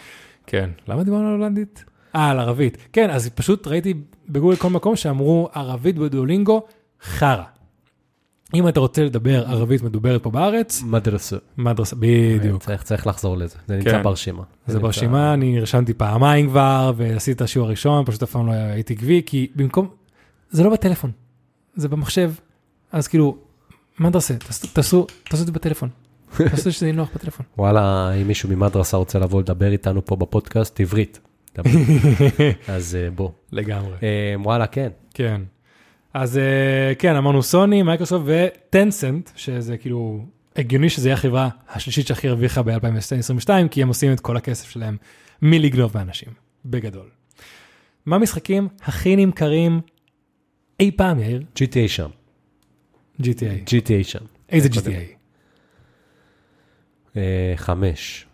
[SPEAKER 1] כן. למה דיברנו על הולנדית? אה, על ערבית. כן, אז פשוט ראיתי בגוגל כל מקום שאמרו ערבית בדואלינגו, חרא. אם אתה רוצה לדבר ערבית מדוברת פה בארץ,
[SPEAKER 2] מדרסה.
[SPEAKER 1] מדרסה, בדיוק.
[SPEAKER 2] צריך- צריך לחזור לזה,
[SPEAKER 1] כן.
[SPEAKER 2] זה נמצא ברשימה.
[SPEAKER 1] זה
[SPEAKER 2] נמצא-
[SPEAKER 1] ברשימה, אני נרשמתי פעמיים כבר, ועשיתי את השיעור הראשון, פשוט אף פעם לא הייתי עקבי, כי במקום, זה לא בטלפון, זה במחשב. אז כאילו, מה אתה עושה? תעשו- תעשו תעשו את זה בטלפון. תעשו שזה יהיה נוח בטלפון.
[SPEAKER 2] וואלה, אם מישהו ממדרסה רוצה לבוא לדבר איתנו פה בפודקאסט, עברית. דבר. אז אה, בוא.
[SPEAKER 1] לגמרי.
[SPEAKER 2] אה, וואלה, כן.
[SPEAKER 1] כן. אז אה, כן, אמרנו סוני, מייקרוסופט וטנסנט, שזה כאילו הגיוני שזה יהיה החברה השלישית שהכי הרוויחה ב-2022, כי הם עושים את כל הכסף שלהם מלגנוב מאנשים, בגדול. מה המשחקים הכי נמכרים אי פעם, יאיר?
[SPEAKER 2] GTA שם.
[SPEAKER 1] GTA.
[SPEAKER 2] GTA שם.
[SPEAKER 1] איזה
[SPEAKER 2] קודם.
[SPEAKER 1] GTA?
[SPEAKER 2] אה, חמש.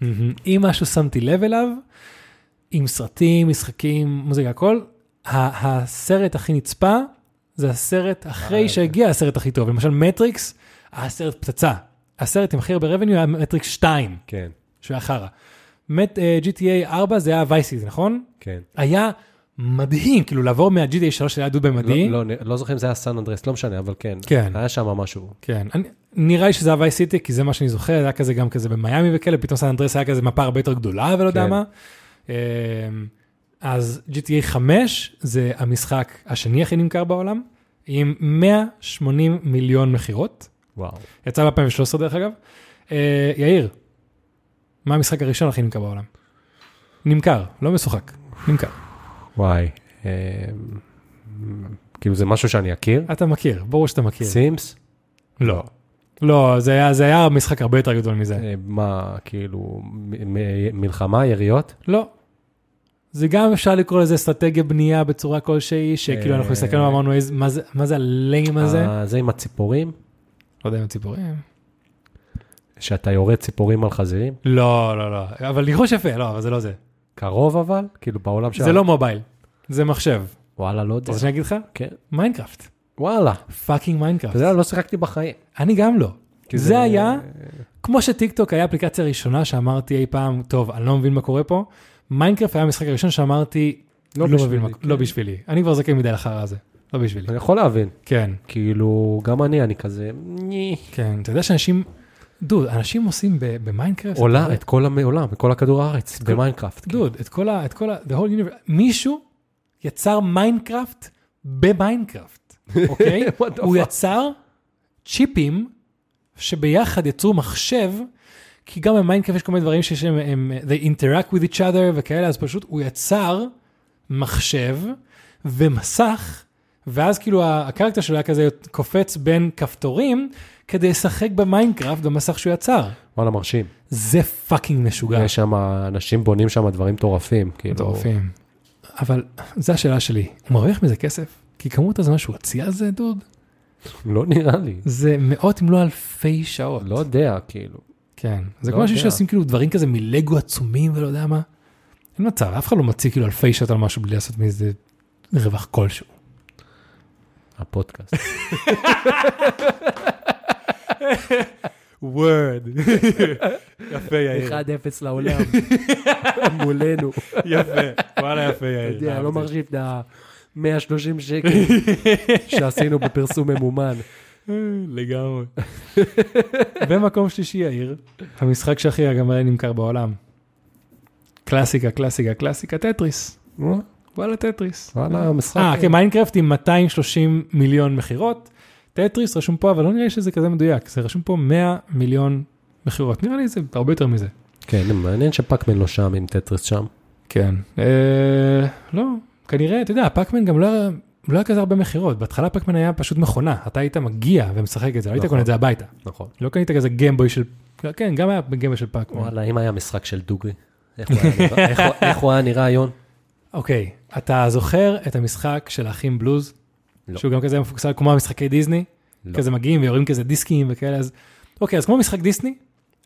[SPEAKER 1] מהמם. אם משהו שמתי לב אליו, עם סרטים, משחקים, מוזיקה, הכל, ה- הסרט הכי נצפה, זה הסרט אחרי
[SPEAKER 2] אוקיי.
[SPEAKER 1] שהגיע הסרט הכי טוב. למשל מטריקס, היה סרט פצצה. הסרט עם הכי הרבה רבניו היה מטריקס 2,
[SPEAKER 2] כן,
[SPEAKER 1] שהיה חרא. מט- אה, GTA 4 זה היה וייסיס, נכון?
[SPEAKER 2] כן.
[SPEAKER 1] היה מדהים, כאילו לעבור מה-GTA 3 שהיה דוד במדי.
[SPEAKER 2] לא, לא, לא זוכר אם זה היה סן אנדרס, לא משנה, אבל כן.
[SPEAKER 1] כן.
[SPEAKER 2] היה שם משהו.
[SPEAKER 1] כן, אני, נראה לי שזה הווי סיטי, כי זה מה שאני זוכר, היה כזה גם כזה במיאמי וכאלה, פתאום סן אנדרס היה כזה מפה הרבה יותר גדולה ולא יודע
[SPEAKER 2] כן.
[SPEAKER 1] מה. אמ, אז GTA 5 זה המשחק השני הכי נמכר בעולם, עם 180 מיליון מכירות,
[SPEAKER 2] וואו.
[SPEAKER 1] יצא ב-2013 דרך אגב. אה, יאיר, מה המשחק הראשון הכי נמכר בעולם? נמכר, לא משוחק, נמכר.
[SPEAKER 2] וואי. אה, כאילו זה משהו שאני אכיר?
[SPEAKER 1] אתה מכיר, ברור שאתה
[SPEAKER 2] כן.
[SPEAKER 1] מכיר.
[SPEAKER 2] סימס?
[SPEAKER 1] לא. לא, זה היה, זה היה משחק הרבה יותר גדול מזה.
[SPEAKER 2] אה, מה, כאילו, מ- מ- מלחמה, יריות?
[SPEAKER 1] לא. זה גם אפשר לקרוא לזה אסטרטגיה בנייה בצורה כלשהי, שכאילו
[SPEAKER 2] אה.
[SPEAKER 1] אנחנו הסתכלנו ואמרנו, "איזה- מה זה- מה זה הליים הזה?
[SPEAKER 2] אה, זה עם הציפורים?
[SPEAKER 1] לא יודע אם הציפורים.
[SPEAKER 2] שאתה יורה ציפורים על חזירים?
[SPEAKER 1] לא, לא, לא. אבל ניחוש יפה, לא, אבל זה לא זה.
[SPEAKER 2] קרוב אבל? כאילו בעולם
[SPEAKER 1] זה לא מובייל, זה מחשב.
[SPEAKER 2] וואלה, לא יודע.
[SPEAKER 1] אתה רוצה שאני אגיד לך?
[SPEAKER 2] כן.
[SPEAKER 1] מיינקראפט.
[SPEAKER 2] וואלה.
[SPEAKER 1] פאקינג
[SPEAKER 2] אתה
[SPEAKER 1] מיינקראפט.
[SPEAKER 2] יודע, לא שיחקתי בחיים.
[SPEAKER 1] אני גם לא.
[SPEAKER 2] כי
[SPEAKER 1] זה היה, כמו שטיקטוק היה האפליקציה הראשונה שאמרתי אי פעם, טוב, אני לא מבין מה קורה פה, מיינקראפט היה המשחק הראשון שאמרתי, לא מבין מה, לא בשבילי. אני כבר זקן מדי לחרא הזה, לא בשבילי.
[SPEAKER 2] אני יכול להבין.
[SPEAKER 1] כן.
[SPEAKER 2] כאילו, גם אני, אני כזה... ני.
[SPEAKER 1] כן, אתה יודע שאנשים, דוד, אנשים עושים ב- במיינקראפט,
[SPEAKER 2] עולה את כל העולם, את כל הכדור הארץ, במיינקראפט. כאילו.
[SPEAKER 1] דוד, את כל ה... את כל ה... The whole universe, מישהו יצר מיינקראפט במיינקראפט, אוקיי?
[SPEAKER 2] כאילו. What the
[SPEAKER 1] הוא
[SPEAKER 2] fuck?
[SPEAKER 1] יצר צ'יפים שביחד יצרו מחשב כי גם במיינקראפט יש כל מיני דברים שיש להם, הם, they interact with each other וכאלה, אז פשוט הוא יצר מחשב ומסך, ואז כאילו ה- הקרקטר שלו היה כזה קופץ בין כפתורים, כדי לשחק במיינקראפט במסך שהוא יצר.
[SPEAKER 2] וואלה, מרשים.
[SPEAKER 1] זה פאקינג משוגע.
[SPEAKER 2] יש שם, אנשים בונים שם דברים מטורפים, כאילו.
[SPEAKER 1] מטורפים. אבל זו השאלה שלי, הוא מרוויח מזה כסף? כי כמות הזמן שהוא הוציא על זה, דוד,
[SPEAKER 2] לא נראה לי.
[SPEAKER 1] זה מאות אם לא אלפי שעות.
[SPEAKER 2] לא יודע, כאילו.
[SPEAKER 1] כן. זה
[SPEAKER 2] לא
[SPEAKER 1] כמו אנשים
[SPEAKER 2] יודע.
[SPEAKER 1] שעושים כאילו דברים כזה מלגו עצומים ולא יודע מה. אין מצב, אף אחד לא מוציא כאילו אלפי שעות על משהו בלי לעשות מזה רווח כלשהו.
[SPEAKER 2] הפודקאסט.
[SPEAKER 1] וורד. יפה
[SPEAKER 2] 1-0 לעולם. מולנו.
[SPEAKER 1] יפה. אה, וואלה יפה
[SPEAKER 2] אתה
[SPEAKER 1] יאיר.
[SPEAKER 2] יודע, לא מרשים את ה-130 שקל שעשינו בפרסום ממומן.
[SPEAKER 1] אה, לגמרי. במקום שלישי יאיר, המשחק שהכי גם היה נמכר בעולם. קלאסיקה, קלאסיקה, קלאסיקה, טטריס. וואלה טטריס.
[SPEAKER 2] וואלה, משחק.
[SPEAKER 1] אה, כן, מיינקראפט עם 230 מיליון מכירות, טטריס רשום פה, אבל לא נראה לי שזה כזה מדויק, זה רשום פה 100 מיליון מכירות, נראה לי זה הרבה יותר מזה.
[SPEAKER 2] כן, מעניין שפאקמן לא שם עם טטריס שם.
[SPEAKER 1] כן. אה, לא, כנראה, אתה יודע, פאקמן גם לא... היה- לא היה כזה הרבה מכירות, בהתחלה פאקמן היה פשוט מכונה, אתה היית מגיע ומשחק את זה, לא היית
[SPEAKER 2] נכון.
[SPEAKER 1] קונה את זה הביתה.
[SPEAKER 2] נכון.
[SPEAKER 1] לא קנית כזה גמבוי של, כן, גם היה גמבוי של פאקמן.
[SPEAKER 2] וואלה, אם היה משחק של דוגרי, איך הוא היה נראה- איך הוא- איך הוא היה נראה, יון?
[SPEAKER 1] אוקיי, אתה זוכר את המשחק של האחים בלוז?
[SPEAKER 2] לא.
[SPEAKER 1] שהוא גם כזה מפוקסל כמו המשחקי דיסני?
[SPEAKER 2] לא.
[SPEAKER 1] כזה מגיעים ויורים כזה דיסקים וכאלה, אז אוקיי, אז כמו משחק דיסני,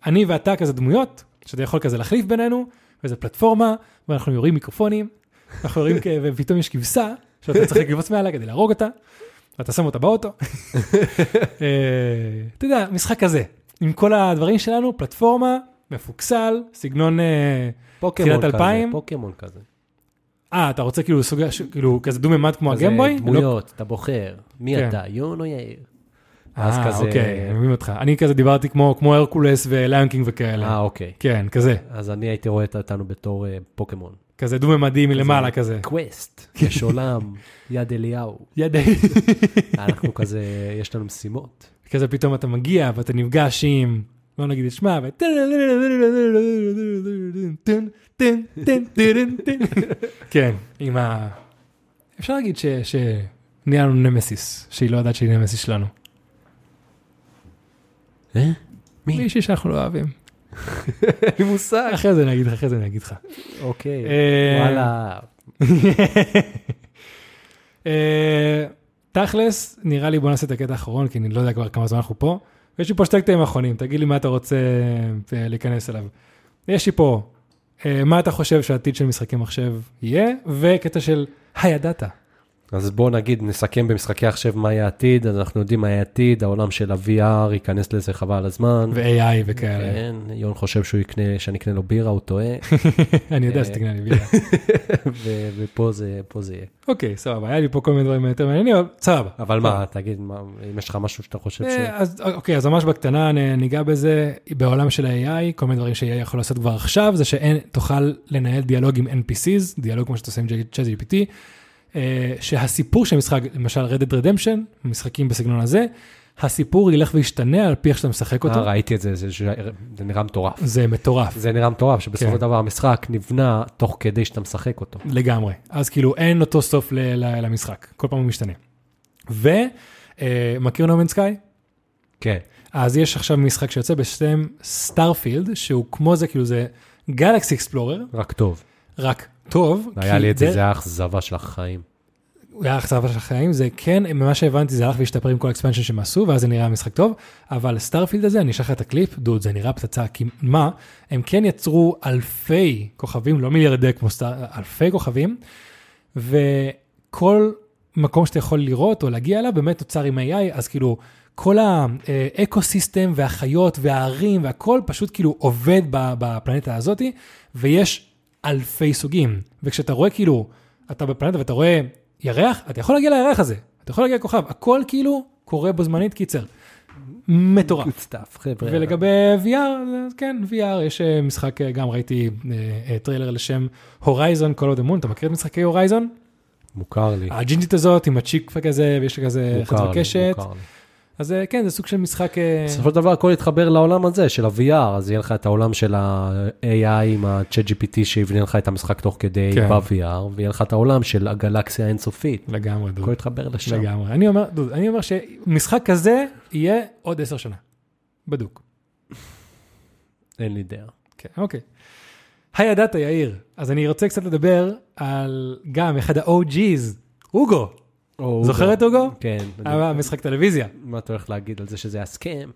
[SPEAKER 1] אני ואתה כזה דמויות, שאתה יכול כזה להחליף בינינו, וזה פלטפורמה, ואנחנו יורים מיקרופונים, אנחנו יורים כאלה, ופתאום יש כבשה, שאתה צריך לקבוץ מעליה כדי להרוג אותה, ואתה שם אותה באוטו. אה, אתה יודע, משחק כזה, עם כל הדברים שלנו, פלטפורמה, מפוקסל, סגנון... אה,
[SPEAKER 2] פוקימון
[SPEAKER 1] תחילת
[SPEAKER 2] כזה,
[SPEAKER 1] אלפיים?
[SPEAKER 2] פוקימון כזה.
[SPEAKER 1] אה, אתה רוצה כאילו סוג, כאילו כזה דו-ממד כמו
[SPEAKER 2] כזה
[SPEAKER 1] הגמבוי? לא-
[SPEAKER 2] דמויות, אתה בוחר. מי
[SPEAKER 1] כן.
[SPEAKER 2] אתה, יון או יאיר? אז
[SPEAKER 1] אה,
[SPEAKER 2] כזה-
[SPEAKER 1] אוקיי, אני מבין אותך. אני כזה דיברתי כמו כמו הרקולס וליונקינג וכאלה.
[SPEAKER 2] אה, אוקיי.
[SPEAKER 1] כן, כזה.
[SPEAKER 2] אז אני הייתי רואה אותנו בתור אה, פוקימון.
[SPEAKER 1] כזה דו-ממדי מלמעלה כזה.
[SPEAKER 2] קווסט, יש עולם, יד אליהו.
[SPEAKER 1] ידי.
[SPEAKER 2] אנחנו כזה, יש לנו משימות.
[SPEAKER 1] כזה פתאום אתה מגיע ואתה נפגש עם, לא נגיד את שמה, ו... כן, עם ה... אפשר להגיד ש... ש... נהיה לנו נמסיס, שהיא לא יודעת שהיא נמסיס שלנו.
[SPEAKER 2] אה? מי?
[SPEAKER 1] מישהי שאנחנו לא אוהבים.
[SPEAKER 2] אין לי מושג.
[SPEAKER 1] אחרי זה אני אגיד לך, אחרי זה אני אגיד לך.
[SPEAKER 2] אוקיי,
[SPEAKER 1] אה,
[SPEAKER 2] וואלה.
[SPEAKER 1] אה, תכלס, נראה לי בוא נעשה את הקטע האחרון, כי אני לא יודע כבר כמה זמן אנחנו פה. יש לי פה שתי קטעים האחרונים, תגיד לי מה אתה רוצה אה, להיכנס אליו. יש לי פה, אה, מה אתה חושב שהעתיד של משחקי מחשב יהיה, וקטע של הידעת.
[SPEAKER 2] אז בואו נגיד, נסכם במשחקי עכשיו מה יהיה העתיד, אז אנחנו יודעים מה יהיה העתיד, העולם של ה-VR ייכנס לזה חבל על הזמן.
[SPEAKER 1] ו-AI וכאלה.
[SPEAKER 2] כן, יון חושב שהוא יקנה, שאני אקנה לו בירה, הוא טועה,
[SPEAKER 1] אני יודע
[SPEAKER 2] אה.
[SPEAKER 1] שתקנה לי בירה.
[SPEAKER 2] ו- ופה זה, פה זה יהיה.
[SPEAKER 1] אוקיי, סבבה, היה לי פה כל מיני דברים יותר מעניינים, אבל סבבה.
[SPEAKER 2] אבל מה, תגיד, מה, אם יש לך משהו שאתה חושב ש...
[SPEAKER 1] אה, אז אוקיי, אז ממש בקטנה נ- ניגע בזה, בעולם של ה-AI, כל מיני דברים ש-AI יכול לעשות כבר עכשיו, זה שאין, תוכל לנהל דיאלוג עם NPCs, דיאלוג כמו שאתה עושה עם ChatGPT, אה, שהסיפור של המשחק, למשל Red Dead Redemption, משחקים בסגנון הזה, הסיפור ילך וישתנה על פי איך שאתה משחק
[SPEAKER 2] אה,
[SPEAKER 1] אותו,
[SPEAKER 2] ראיתי את זה, זה ש- זה נראה מטורף.
[SPEAKER 1] זה מטורף.
[SPEAKER 2] זה נראה מטורף, שבסופו
[SPEAKER 1] כן.
[SPEAKER 2] של דבר המשחק נבנה תוך כדי שאתה משחק אותו.
[SPEAKER 1] לגמרי. אז כאילו אין אותו סוף ל- ל- למשחק, כל פעם הוא משתנה. אה, ומכיר נומן סקאי?
[SPEAKER 2] כן.
[SPEAKER 1] אז יש עכשיו משחק שיוצא בשם סטארפילד, שהוא כמו זה, כאילו זה גלקסי אקספלורר,
[SPEAKER 2] רק טוב.
[SPEAKER 1] רק טוב.
[SPEAKER 2] היה
[SPEAKER 1] כי
[SPEAKER 2] לי את זה,
[SPEAKER 1] דרך-
[SPEAKER 2] זה היה אכזבה של החיים.
[SPEAKER 1] הוא היה אכזבה של החיים, זה כן, ממה שהבנתי זה הלך והשתפר עם כל האקספנשן שהם עשו, ואז זה נראה משחק טוב, אבל סטארפילד הזה, אני אשלח לך את הקליפ, דוד, זה נראה פצצה, כי מה, הם כן יצרו אלפי כוכבים, לא מיליארדי כמו סטאר, אלפי כוכבים, וכל מקום שאתה יכול לראות או להגיע אליו, באמת נוצר עם AI, אז כאילו, כל האקו סיסטם והחיות והערים והכל פשוט כאילו עובד ב- בפלנטה הזאתי, ויש אלפי סוגים. וכשאתה רואה כאילו, אתה בפלנטה ואתה רואה ירח, אתה יכול להגיע לירח הזה, אתה יכול להגיע לכוכב, הכל כאילו קורה בו זמנית קיצר. מטורף.
[SPEAKER 2] סטאפ, חבר'ה.
[SPEAKER 1] ולגבי VR, אז כן, VR, יש אה, משחק, אה, גם ראיתי אה, אה, טריילר לשם הורייזון, כל עוד אמון, אתה מכיר את משחקי הורייזון?
[SPEAKER 2] מוכר לי.
[SPEAKER 1] הג'ינג'ית הזאת עם הצ'יק כזה, ויש לה כזה
[SPEAKER 2] כן. מוכר
[SPEAKER 1] חצי
[SPEAKER 2] לי,
[SPEAKER 1] אה, קשת.
[SPEAKER 2] מוכר לי.
[SPEAKER 1] אז אה, כן, זה סוג של משחק... אה,
[SPEAKER 2] בסופו של דבר הכל יתחבר לעולם הזה של ה-VR, אז יהיה לך את העולם של ה-AI עם ה-Chat GPT שיבנה לך את המשחק תוך כדי
[SPEAKER 1] כן.
[SPEAKER 2] ב-VR, ויהיה לך את העולם של הגלקסיה האינסופית.
[SPEAKER 1] לגמרי, דוד.
[SPEAKER 2] הכל יתחבר לשם.
[SPEAKER 1] לגמרי. אני אומר, דוד, אני אומר שמשחק כזה יהיה עוד עשר שנה. בדוק.
[SPEAKER 2] אין לי דעה.
[SPEAKER 1] כן, אוקיי. הידעת, יאיר. אז אני רוצה קצת לדבר על גם אחד ה-OG's, הוגו. זוכר את הוגו? אה,
[SPEAKER 2] כן.
[SPEAKER 1] המשחק טלוויזיה.
[SPEAKER 2] מה אתה הולך להגיד על זה שזה היה סכם?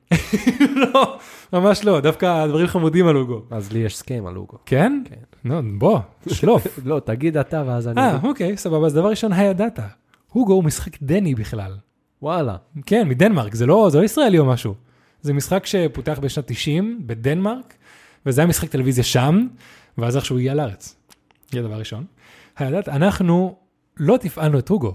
[SPEAKER 1] לא, ממש לא, דווקא דברים חמודים על הוגו.
[SPEAKER 2] אז לי יש סכם על הוגו.
[SPEAKER 1] כן?
[SPEAKER 2] כן.
[SPEAKER 1] נו, בוא, שלוף.
[SPEAKER 2] לא, תגיד אתה ואז אני...
[SPEAKER 1] אה, אוקיי, סבבה. אז דבר ראשון, הידעת. הוגו הוא משחק דני בכלל.
[SPEAKER 2] וואלה.
[SPEAKER 1] כן, מדנמרק, זה לא, זה לא ישראלי או משהו. זה משחק שפותח בשנת 90 בדנמרק, וזה היה משחק טלוויזיה שם, ואז איכשהו הגיע לארץ. זה הדבר הראשון. הידעת, אנחנו לא תפעלנו את הוגו.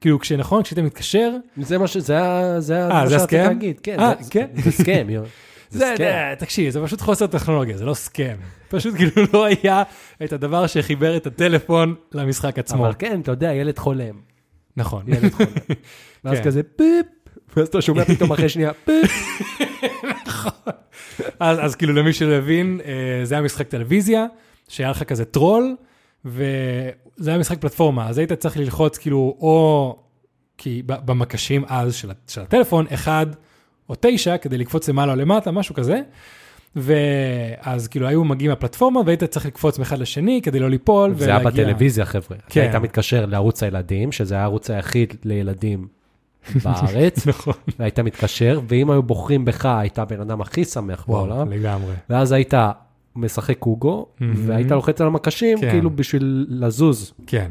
[SPEAKER 1] כאילו, כשנכון, כשאתה מתקשר,
[SPEAKER 2] זה מה ש... זה ה... זה
[SPEAKER 1] אה,
[SPEAKER 2] ה... מה
[SPEAKER 1] זה
[SPEAKER 2] שרציתי
[SPEAKER 1] הסכם?
[SPEAKER 2] להגיד, כן.
[SPEAKER 1] אה,
[SPEAKER 2] זה-
[SPEAKER 1] כן?
[SPEAKER 2] זה סכם, יו.
[SPEAKER 1] זה,
[SPEAKER 2] סכם.
[SPEAKER 1] זה, תקשיב, זה פשוט חוסר טכנולוגיה, זה לא סכם. פשוט כאילו לא היה את הדבר שחיבר את הטלפון למשחק עצמו.
[SPEAKER 2] אבל כן, אתה יודע, ילד חולם.
[SPEAKER 1] נכון.
[SPEAKER 2] ילד חולם. ואז
[SPEAKER 1] כן.
[SPEAKER 2] כזה פיפ, ואז אתה שומע פתאום אחרי שנייה פיפ.
[SPEAKER 1] אז, אז כאילו למי שלא הבין, אה, זה היה משחק טלוויזיה, שהיה לך כזה טרול, וזה היה משחק פלטפורמה, אז היית צריך ללחוץ כאילו או, כי ב- במקשים אז של, ה- של הטלפון, אחד או תשע, כדי לקפוץ למעלה או למטה, משהו כזה. ואז כאילו היו מגיעים הפלטפורמה והיית צריך לקפוץ מאחד לשני כדי לא ליפול.
[SPEAKER 2] זה היה
[SPEAKER 1] ולהגיע-
[SPEAKER 2] בטלוויזיה, חבר'ה.
[SPEAKER 1] כן.
[SPEAKER 2] כן. היית מתקשר לערוץ הילדים, שזה היה הערוץ היחיד לילדים בארץ,
[SPEAKER 1] נכון.
[SPEAKER 2] והיית מתקשר, ואם היו בוחרים בך, היית הבן אדם הכי שמח
[SPEAKER 1] וואו,
[SPEAKER 2] בעולם,
[SPEAKER 1] נכון, לגמרי.
[SPEAKER 2] ואז היית משחק הוגו, והיית לוחץ על המקשים,
[SPEAKER 1] כן.
[SPEAKER 2] כאילו בשביל לזוז,
[SPEAKER 1] כן,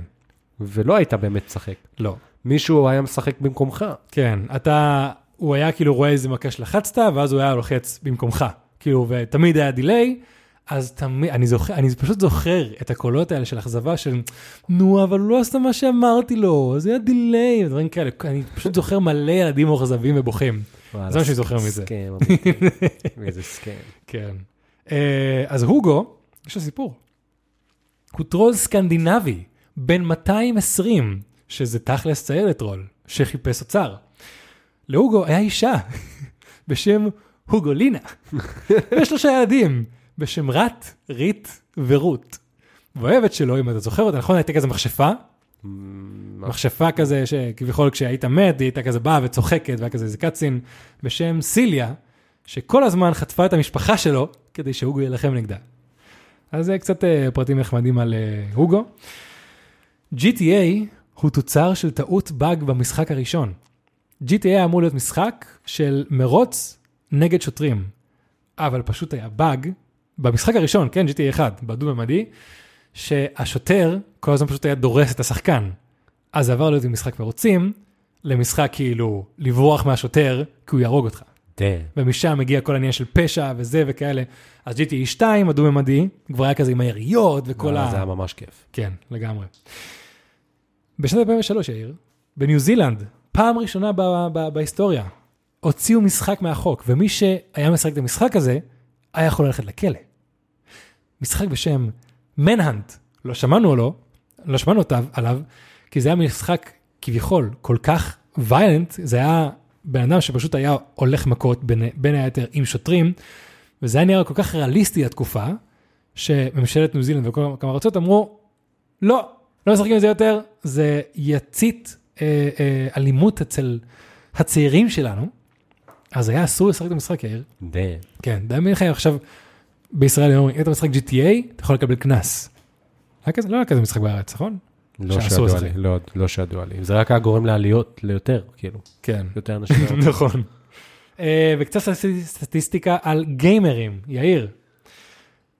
[SPEAKER 2] ולא היית באמת משחק.
[SPEAKER 1] לא.
[SPEAKER 2] מישהו היה משחק במקומך.
[SPEAKER 1] כן, אתה, הוא היה כאילו רואה איזה מכה שלחצת, ואז הוא היה לוחץ במקומך. כאילו, ותמיד היה דיליי, אז תמיד, אני זוכר, אני פשוט זוכר את הקולות האלה של אכזבה של, נו, אבל הוא לא עשה מה שאמרתי לו, זה היה דיליי, ודברים כאלה. אני פשוט זוכר מלא ילדים מאוכזבים ובוכים.
[SPEAKER 2] וואלה,
[SPEAKER 1] זה מה שאני זוכר מזה.
[SPEAKER 2] סכם, אמיתי. איזה סכם.
[SPEAKER 1] כן. אה, אז הוגו, יש לו סיפור. הוא טרול סקנדינבי, בן 220, שזה תכלס צעיר לטרול, שחיפש אוצר. להוגו היה אישה בשם הוגולינה, ושלושה ילדים בשם רט, ריט ורות. והאוהבת שלו, אם אתה זוכר אותה, נכון, הייתה כזה מכשפה? מכשפה כזה שכביכול כשהיית מת, היא הייתה כזה באה וצוחקת, והיה כזה איזה קצין בשם סיליה, שכל הזמן חטפה את המשפחה שלו כדי שהוגו יילחם נגדה. אז זה קצת אה, פרטים נחמדים על אה, הוגו. GTA הוא תוצר של טעות באג במשחק הראשון. GTA אמור להיות משחק של מרוץ נגד שוטרים, אבל פשוט היה באג במשחק הראשון, כן, GTA 1, בדו-ממדי, שהשוטר כל הזמן פשוט היה דורס את השחקן. אז זה עבר להיות ממשחק מרוצים, למשחק כאילו לברוח מהשוטר, כי הוא יהרוג אותך.
[SPEAKER 2] דה.
[SPEAKER 1] ומשם מגיע כל העניין של פשע וזה וכאלה. אז GTA 2, הדו-ממדי, כבר היה כזה עם היריות וכל
[SPEAKER 2] וואלה,
[SPEAKER 1] ה...
[SPEAKER 2] אה, זה היה ממש כיף.
[SPEAKER 1] כן, לגמרי. בשנת 2003, יאיר, בניו זילנד, פעם ראשונה ב- ב- בהיסטוריה, הוציאו משחק מהחוק, ומי שהיה משחק את המשחק הזה, היה יכול ללכת לכלא. משחק בשם מנהנט, לא שמענו עליו, לא שמענו אותיו, עליו, כי זה היה משחק כביכול כל כך ויילנט, זה היה בן אדם שפשוט היה הולך מכות בין, בין היתר עם שוטרים, וזה היה נראה כל כך ריאליסטי לתקופה, שממשלת ניו זילנד וכל כמה ארצות אמרו, לא, לא משחקים עם זה יותר, זה יצית אה, אה, אלימות אצל הצעירים שלנו. אז היה אסור לשחק את המשחק, יאיר.
[SPEAKER 2] דה.
[SPEAKER 1] כן, דמיין לך עכשיו, בישראל היום, אם אתה משחק GTA, אתה יכול לקבל קנס. היה כזה, לא היה כזה משחק בארץ, נכון?
[SPEAKER 2] לא
[SPEAKER 1] שאסור
[SPEAKER 2] שידוע
[SPEAKER 1] לשחק.
[SPEAKER 2] לי, לא- לא שידוע לי. זה רק היה גורם לעליות ליותר, כאילו.
[SPEAKER 1] כן.
[SPEAKER 2] יותר אנשים. לא,
[SPEAKER 1] נכון. אה, וקצת סטטיסט- סטטיסטיקה על גיימרים, יאיר.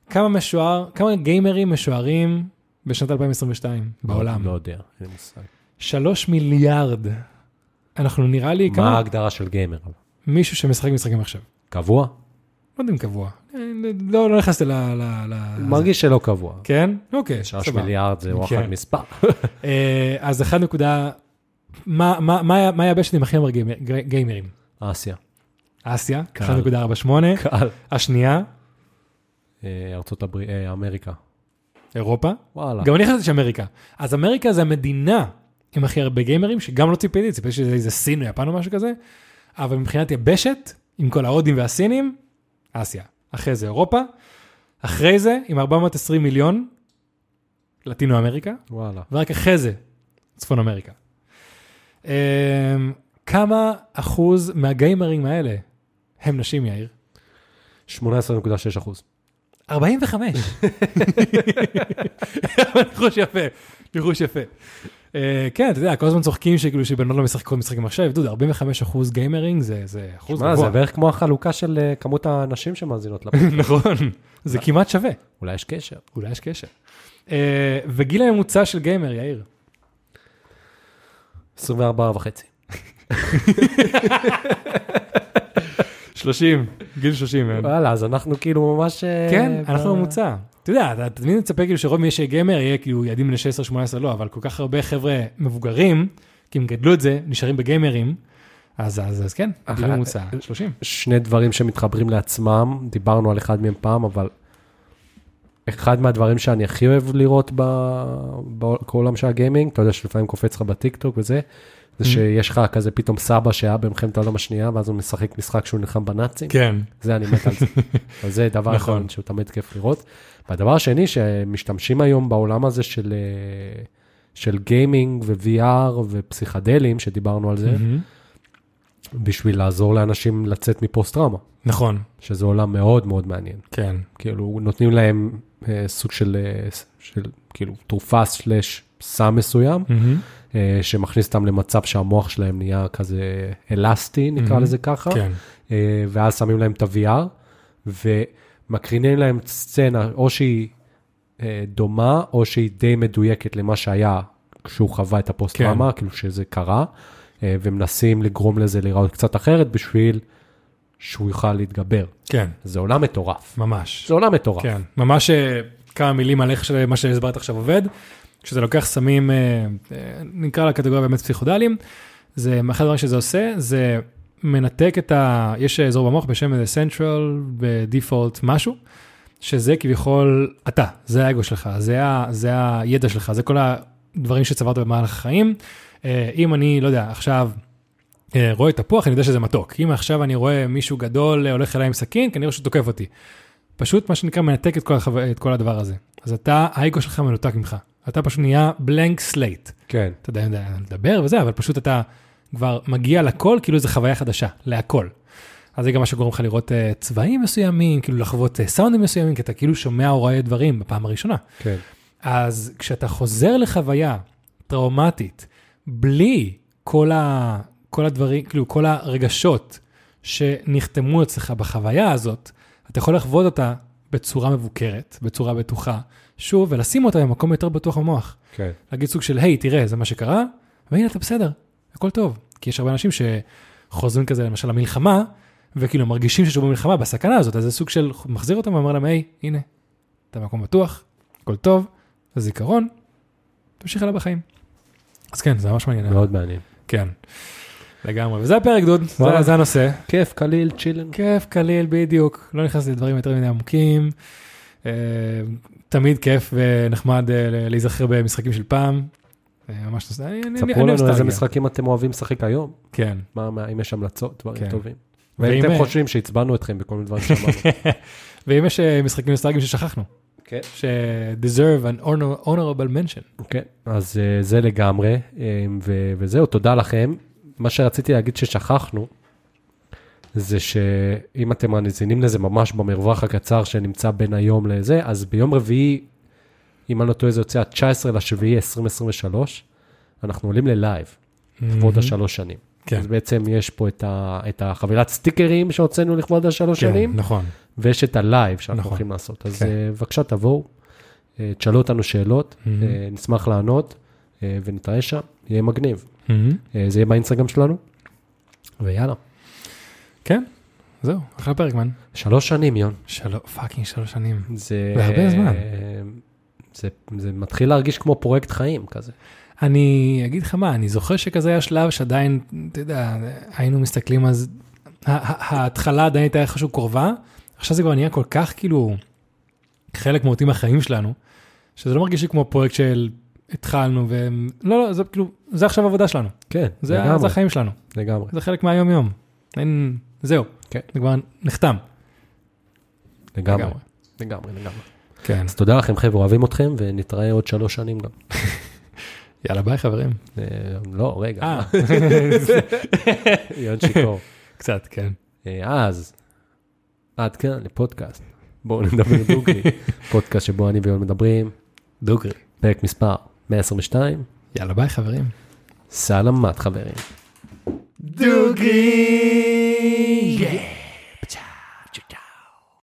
[SPEAKER 1] כמה משוער, כמה גיימרים משוערים בשנת 2022 בעולם?
[SPEAKER 2] לא יודע, אין לי מושג.
[SPEAKER 1] שלוש מיליארד. אנחנו נראה לי
[SPEAKER 2] מה
[SPEAKER 1] כמה
[SPEAKER 2] ההגדרה של גיימר? אבל?
[SPEAKER 1] מישהו שמשחק משחקים עכשיו.
[SPEAKER 2] קבוע? לא
[SPEAKER 1] לא יודע אם קבוע. אה, לא לא נכנסתי ל... ל- ל-
[SPEAKER 2] מרגיש שלא קבוע.
[SPEAKER 1] כן? אוקיי,
[SPEAKER 2] שלוש
[SPEAKER 1] סבבה.
[SPEAKER 2] מיליארד זה וואחד
[SPEAKER 1] כן.
[SPEAKER 2] מספר.
[SPEAKER 1] אה, אז אחד נקודה, מה- מה- מה מה היבשת עם הכי הרבה גיימר- גי- גיימרים?
[SPEAKER 2] אסיה.
[SPEAKER 1] אסיה,
[SPEAKER 2] קל.
[SPEAKER 1] 1.48,
[SPEAKER 2] קהל.
[SPEAKER 1] השנייה,
[SPEAKER 2] אה, ארצות הברית, אה, אמריקה.
[SPEAKER 1] אירופה,
[SPEAKER 2] וואלה.
[SPEAKER 1] גם אני חשבתי שאמריקה. אז אמריקה זה המדינה עם הכי הרבה גיימרים, שגם לא ציפיתי, ציפיתי שזה איזה סין או יפן או משהו כזה, אבל מבחינת יבשת, עם כל ההודים והסינים, אסיה. אחרי זה אירופה. אחרי זה, עם 420 מיליון, לטינו אמריקה,
[SPEAKER 2] וואלה.
[SPEAKER 1] ורק אחרי זה, צפון אמריקה. אמ, כמה אחוז מהגיימרים האלה הם נשים, יאיר?
[SPEAKER 2] 18.6 אחוז.
[SPEAKER 1] 45. ניחוש יפה, ניחוש יפה. אה, כן, אתה יודע, כל הזמן צוחקים שכאילו שבנות לא משחקות משחקים עכשיו, דוד, 45 אחוז גיימרינג זה זה אחוז
[SPEAKER 2] מה, זה
[SPEAKER 1] גבוה.
[SPEAKER 2] בערך כמו החלוקה של אה, כמות הנשים שמאזינות לפרק.
[SPEAKER 1] נכון, זה כמעט שווה,
[SPEAKER 2] אולי יש קשר.
[SPEAKER 1] אולי יש קשר. אה, וגיל הממוצע של גיימר, יאיר,
[SPEAKER 2] 24 וחצי.
[SPEAKER 1] 30, גיל 30. יאיר.
[SPEAKER 2] וואלה, אז אנחנו כאילו ממש... אה,
[SPEAKER 1] כן,
[SPEAKER 2] ב-
[SPEAKER 1] אנחנו ממוצע. אתה יודע, אתה תמיד מצפה כאילו שרוב מי שגיימר יהיה כאילו ילדים בני 16-18 לא, אבל כל כך הרבה חבר'ה מבוגרים, כי הם גדלו את זה, נשארים בגיימרים, אז אז אז כן,
[SPEAKER 2] אח-
[SPEAKER 1] גיל ממוצע,
[SPEAKER 2] אה,
[SPEAKER 1] 30.
[SPEAKER 2] שני דברים שמתחברים לעצמם, דיברנו על אחד מהם פעם, אבל אחד מהדברים שאני הכי אוהב לראות ב- ב- בעולם של הגיימינג, אתה יודע שלפעמים קופץ לך בטיקטוק וזה, זה
[SPEAKER 1] Mm-hmm.
[SPEAKER 2] שיש לך כזה פתאום סבא שהיה במלחמת העולם השנייה, ואז הוא משחק משחק שהוא נלחם בנאצים.
[SPEAKER 1] כן.
[SPEAKER 2] זה אני מת על זה. אבל זה דבר
[SPEAKER 1] נכון.
[SPEAKER 2] נכון שהוא תמיד כיף לראות. והדבר השני שמשתמשים היום בעולם הזה של, אה, של גיימינג ו-VR ופסיכדלים, שדיברנו על זה,
[SPEAKER 1] מהמם.
[SPEAKER 2] בשביל לעזור לאנשים לצאת מפוסט טראומה,
[SPEAKER 1] נכון,
[SPEAKER 2] שזה עולם מאוד מאוד מעניין.
[SPEAKER 1] כן.
[SPEAKER 2] כאילו נותנים להם אה, סוג של, אה, של כאילו תרופה סלש סם מסוים,
[SPEAKER 1] מהמם.
[SPEAKER 2] אה, שמכניס אותם למצב שהמוח שלהם נהיה כזה אלסטי, נקרא
[SPEAKER 1] מהמם.
[SPEAKER 2] לזה ככה.
[SPEAKER 1] כן.
[SPEAKER 2] אה, ואז שמים להם את ה-VR, ומקרינים להם סצנה, או שהיא אה, דומה, או שהיא די מדויקת למה שהיה כשהוא חווה את הפוסט-טראומה,
[SPEAKER 1] כן.
[SPEAKER 2] כאילו שזה קרה, אה, ומנסים לגרום לזה להיראות קצת אחרת בשביל שהוא יוכל להתגבר.
[SPEAKER 1] כן,
[SPEAKER 2] זה עולם מטורף.
[SPEAKER 1] ממש.
[SPEAKER 2] זה עולם מטורף.
[SPEAKER 1] כן, ממש אה, כמה מילים על איך ש- מה שהסברת עכשיו עובד. כשאתה לוקח סמים, אה, אה, נקרא לקטגוריה באמת פסיכודליים, זה אחד הדברים שזה עושה, זה מנתק את ה... יש אזור במוח בשם איזה Central ב-Default משהו, שזה כביכול אתה, זה האגו שלך, זה, ה, זה הידע שלך, זה כל הדברים שצברת במהלך החיים. אה, אם אני, לא יודע, עכשיו אה, רואה תפוח, אני יודע שזה מתוק. אם עכשיו אני רואה מישהו גדול אה, הולך אליי עם סכין, כנראה שהוא תוקף אותי. פשוט מה שנקרא מנתק את כל, החו... את כל הדבר הזה. אז אתה, האגו שלך מנותק ממך. אתה פשוט נהיה בלנק סלייט.
[SPEAKER 2] כן.
[SPEAKER 1] אתה יודע, יודע לדבר וזה, אבל פשוט אתה כבר מגיע לכל, כאילו זו חוויה חדשה, להכל. אז זה גם מה שגורם לך לראות אה, צבעים מסוימים, כאילו לחוות אה, סאונדים מסוימים, כי אתה כאילו שומע או רואה דברים בפעם הראשונה.
[SPEAKER 2] כן.
[SPEAKER 1] אז כשאתה חוזר לחוויה טראומטית, בלי כל, ה, כל הדברים, כאילו כל הרגשות שנחתמו אצלך בחוויה הזאת, אתה יכול לחוות אותה בצורה מבוקרת, בצורה בטוחה, שוב, ולשים אותה במקום יותר בטוח במוח.
[SPEAKER 2] כן.
[SPEAKER 1] להגיד סוג של, היי, תראה, זה מה שקרה, והנה, אתה בסדר, הכל טוב. כי יש הרבה אנשים שחוזרים כזה, למשל, למלחמה, וכאילו מרגישים שהם במלחמה, בסכנה הזאת, אז זה סוג של, מחזיר אותם ואומר להם, היי, הנה, אתה במקום בטוח, הכל טוב, זה זיכרון, תמשיך הלאה בחיים. אז כן, זה ממש מעניין.
[SPEAKER 2] מאוד מעניין.
[SPEAKER 1] כן. לגמרי, וזה הפרק, דוד, זה-
[SPEAKER 2] וואלה.
[SPEAKER 1] זה הנושא.
[SPEAKER 2] כיף, קליל, צ'ילן.
[SPEAKER 1] כיף, קליל, בדיוק. לא נכנס לדברים יותר מדי עמוקים. אה, תמיד כיף ונחמד אה, ל- להיזכר במשחקים של פעם. אה, ממש נושא. אני- אני- אני
[SPEAKER 2] ספרו
[SPEAKER 1] אוהב
[SPEAKER 2] לנו איזה
[SPEAKER 1] סטלגיה.
[SPEAKER 2] משחקים אתם אוהבים לשחק היום.
[SPEAKER 1] כן.
[SPEAKER 2] מה, מה- אם יש המלצות,
[SPEAKER 1] כן.
[SPEAKER 2] דברים טובים.
[SPEAKER 1] ואם,
[SPEAKER 2] ואם אתם
[SPEAKER 1] אה,
[SPEAKER 2] חושבים שעצבנו אתכם בכל מיני דברים שאמרנו.
[SPEAKER 1] ואם יש אה, משחקים נוסטלגיים ששכחנו,
[SPEAKER 2] כן.
[SPEAKER 1] ש-deserve an honor- honorable mention.
[SPEAKER 2] כן, אז אה, זה לגמרי, אה, ו- וזהו, תודה לכם. מה שרציתי להגיד ששכחנו, זה שאם אתם מאזינים לזה ממש במרווח הקצר שנמצא בין היום לזה, אז ביום רביעי, אם אני לא טועה, זה יוצא ה-19 לשביעי 2023, אנחנו עולים ללייב, לכבוד השלוש שנים.
[SPEAKER 1] כן.
[SPEAKER 2] אז בעצם יש פה את, ה- את החבילת סטיקרים שהוצאנו לכבוד השלוש שנים,
[SPEAKER 1] כן, נכון.
[SPEAKER 2] ויש את הלייב שאנחנו
[SPEAKER 1] נכון.
[SPEAKER 2] הולכים לעשות. אז
[SPEAKER 1] כן.
[SPEAKER 2] אה, בבקשה, תבואו, אה, תשאלו אותנו שאלות,
[SPEAKER 1] Mhm.
[SPEAKER 2] אה, נשמח לענות, אה, ונתראה שם, יהיה מגניב.
[SPEAKER 1] מהמם.
[SPEAKER 2] אה, זה יהיה באינסטגרם שלנו, ויאללה.
[SPEAKER 1] כן, זהו, אחלה פרק, מן.
[SPEAKER 2] שלוש שנים, יון.
[SPEAKER 1] שלוש, פאקינג שלוש שנים.
[SPEAKER 2] זה...
[SPEAKER 1] זה הרבה זמן.
[SPEAKER 2] אה, זה, זה מתחיל להרגיש כמו פרויקט חיים כזה.
[SPEAKER 1] אני אגיד לך מה, אני זוכר שכזה היה שלב שעדיין, אתה יודע, היינו מסתכלים אז, ה- ה- ההתחלה עדיין הייתה איכשהו קרובה, עכשיו זה כבר נהיה כל כך כאילו חלק מהותי מהחיים שלנו, שזה לא מרגיש לי כמו פרויקט של התחלנו, ו... לא, לא, זה כאילו, זה עכשיו העבודה שלנו,
[SPEAKER 2] כן,
[SPEAKER 1] זה,
[SPEAKER 2] לגמרי,
[SPEAKER 1] זה החיים שלנו,
[SPEAKER 2] לגמרי.
[SPEAKER 1] זה חלק מהיום-יום. אין, זהו,
[SPEAKER 2] כן.
[SPEAKER 1] זה כבר נחתם.
[SPEAKER 2] לגמרי.
[SPEAKER 1] לגמרי.
[SPEAKER 2] לגמרי, לגמרי.
[SPEAKER 1] כן.
[SPEAKER 2] אז תודה לכם חבר'ה, אוהבים אתכם, ונתראה עוד שלוש שנים גם.
[SPEAKER 1] יאללה, ביי חברים.
[SPEAKER 2] אה, לא, רגע.
[SPEAKER 1] אה,
[SPEAKER 2] יון שיכור.
[SPEAKER 1] קצת, כן.
[SPEAKER 2] אה, אז, עד כאן לפודקאסט. בואו נדבר דוגרי. פודקאסט שבו אני ויון מדברים,
[SPEAKER 1] דוגרי.
[SPEAKER 2] פרק מספר 122.
[SPEAKER 1] יאללה, ביי חברים.
[SPEAKER 2] סלמת חברים.
[SPEAKER 1] דוגרי!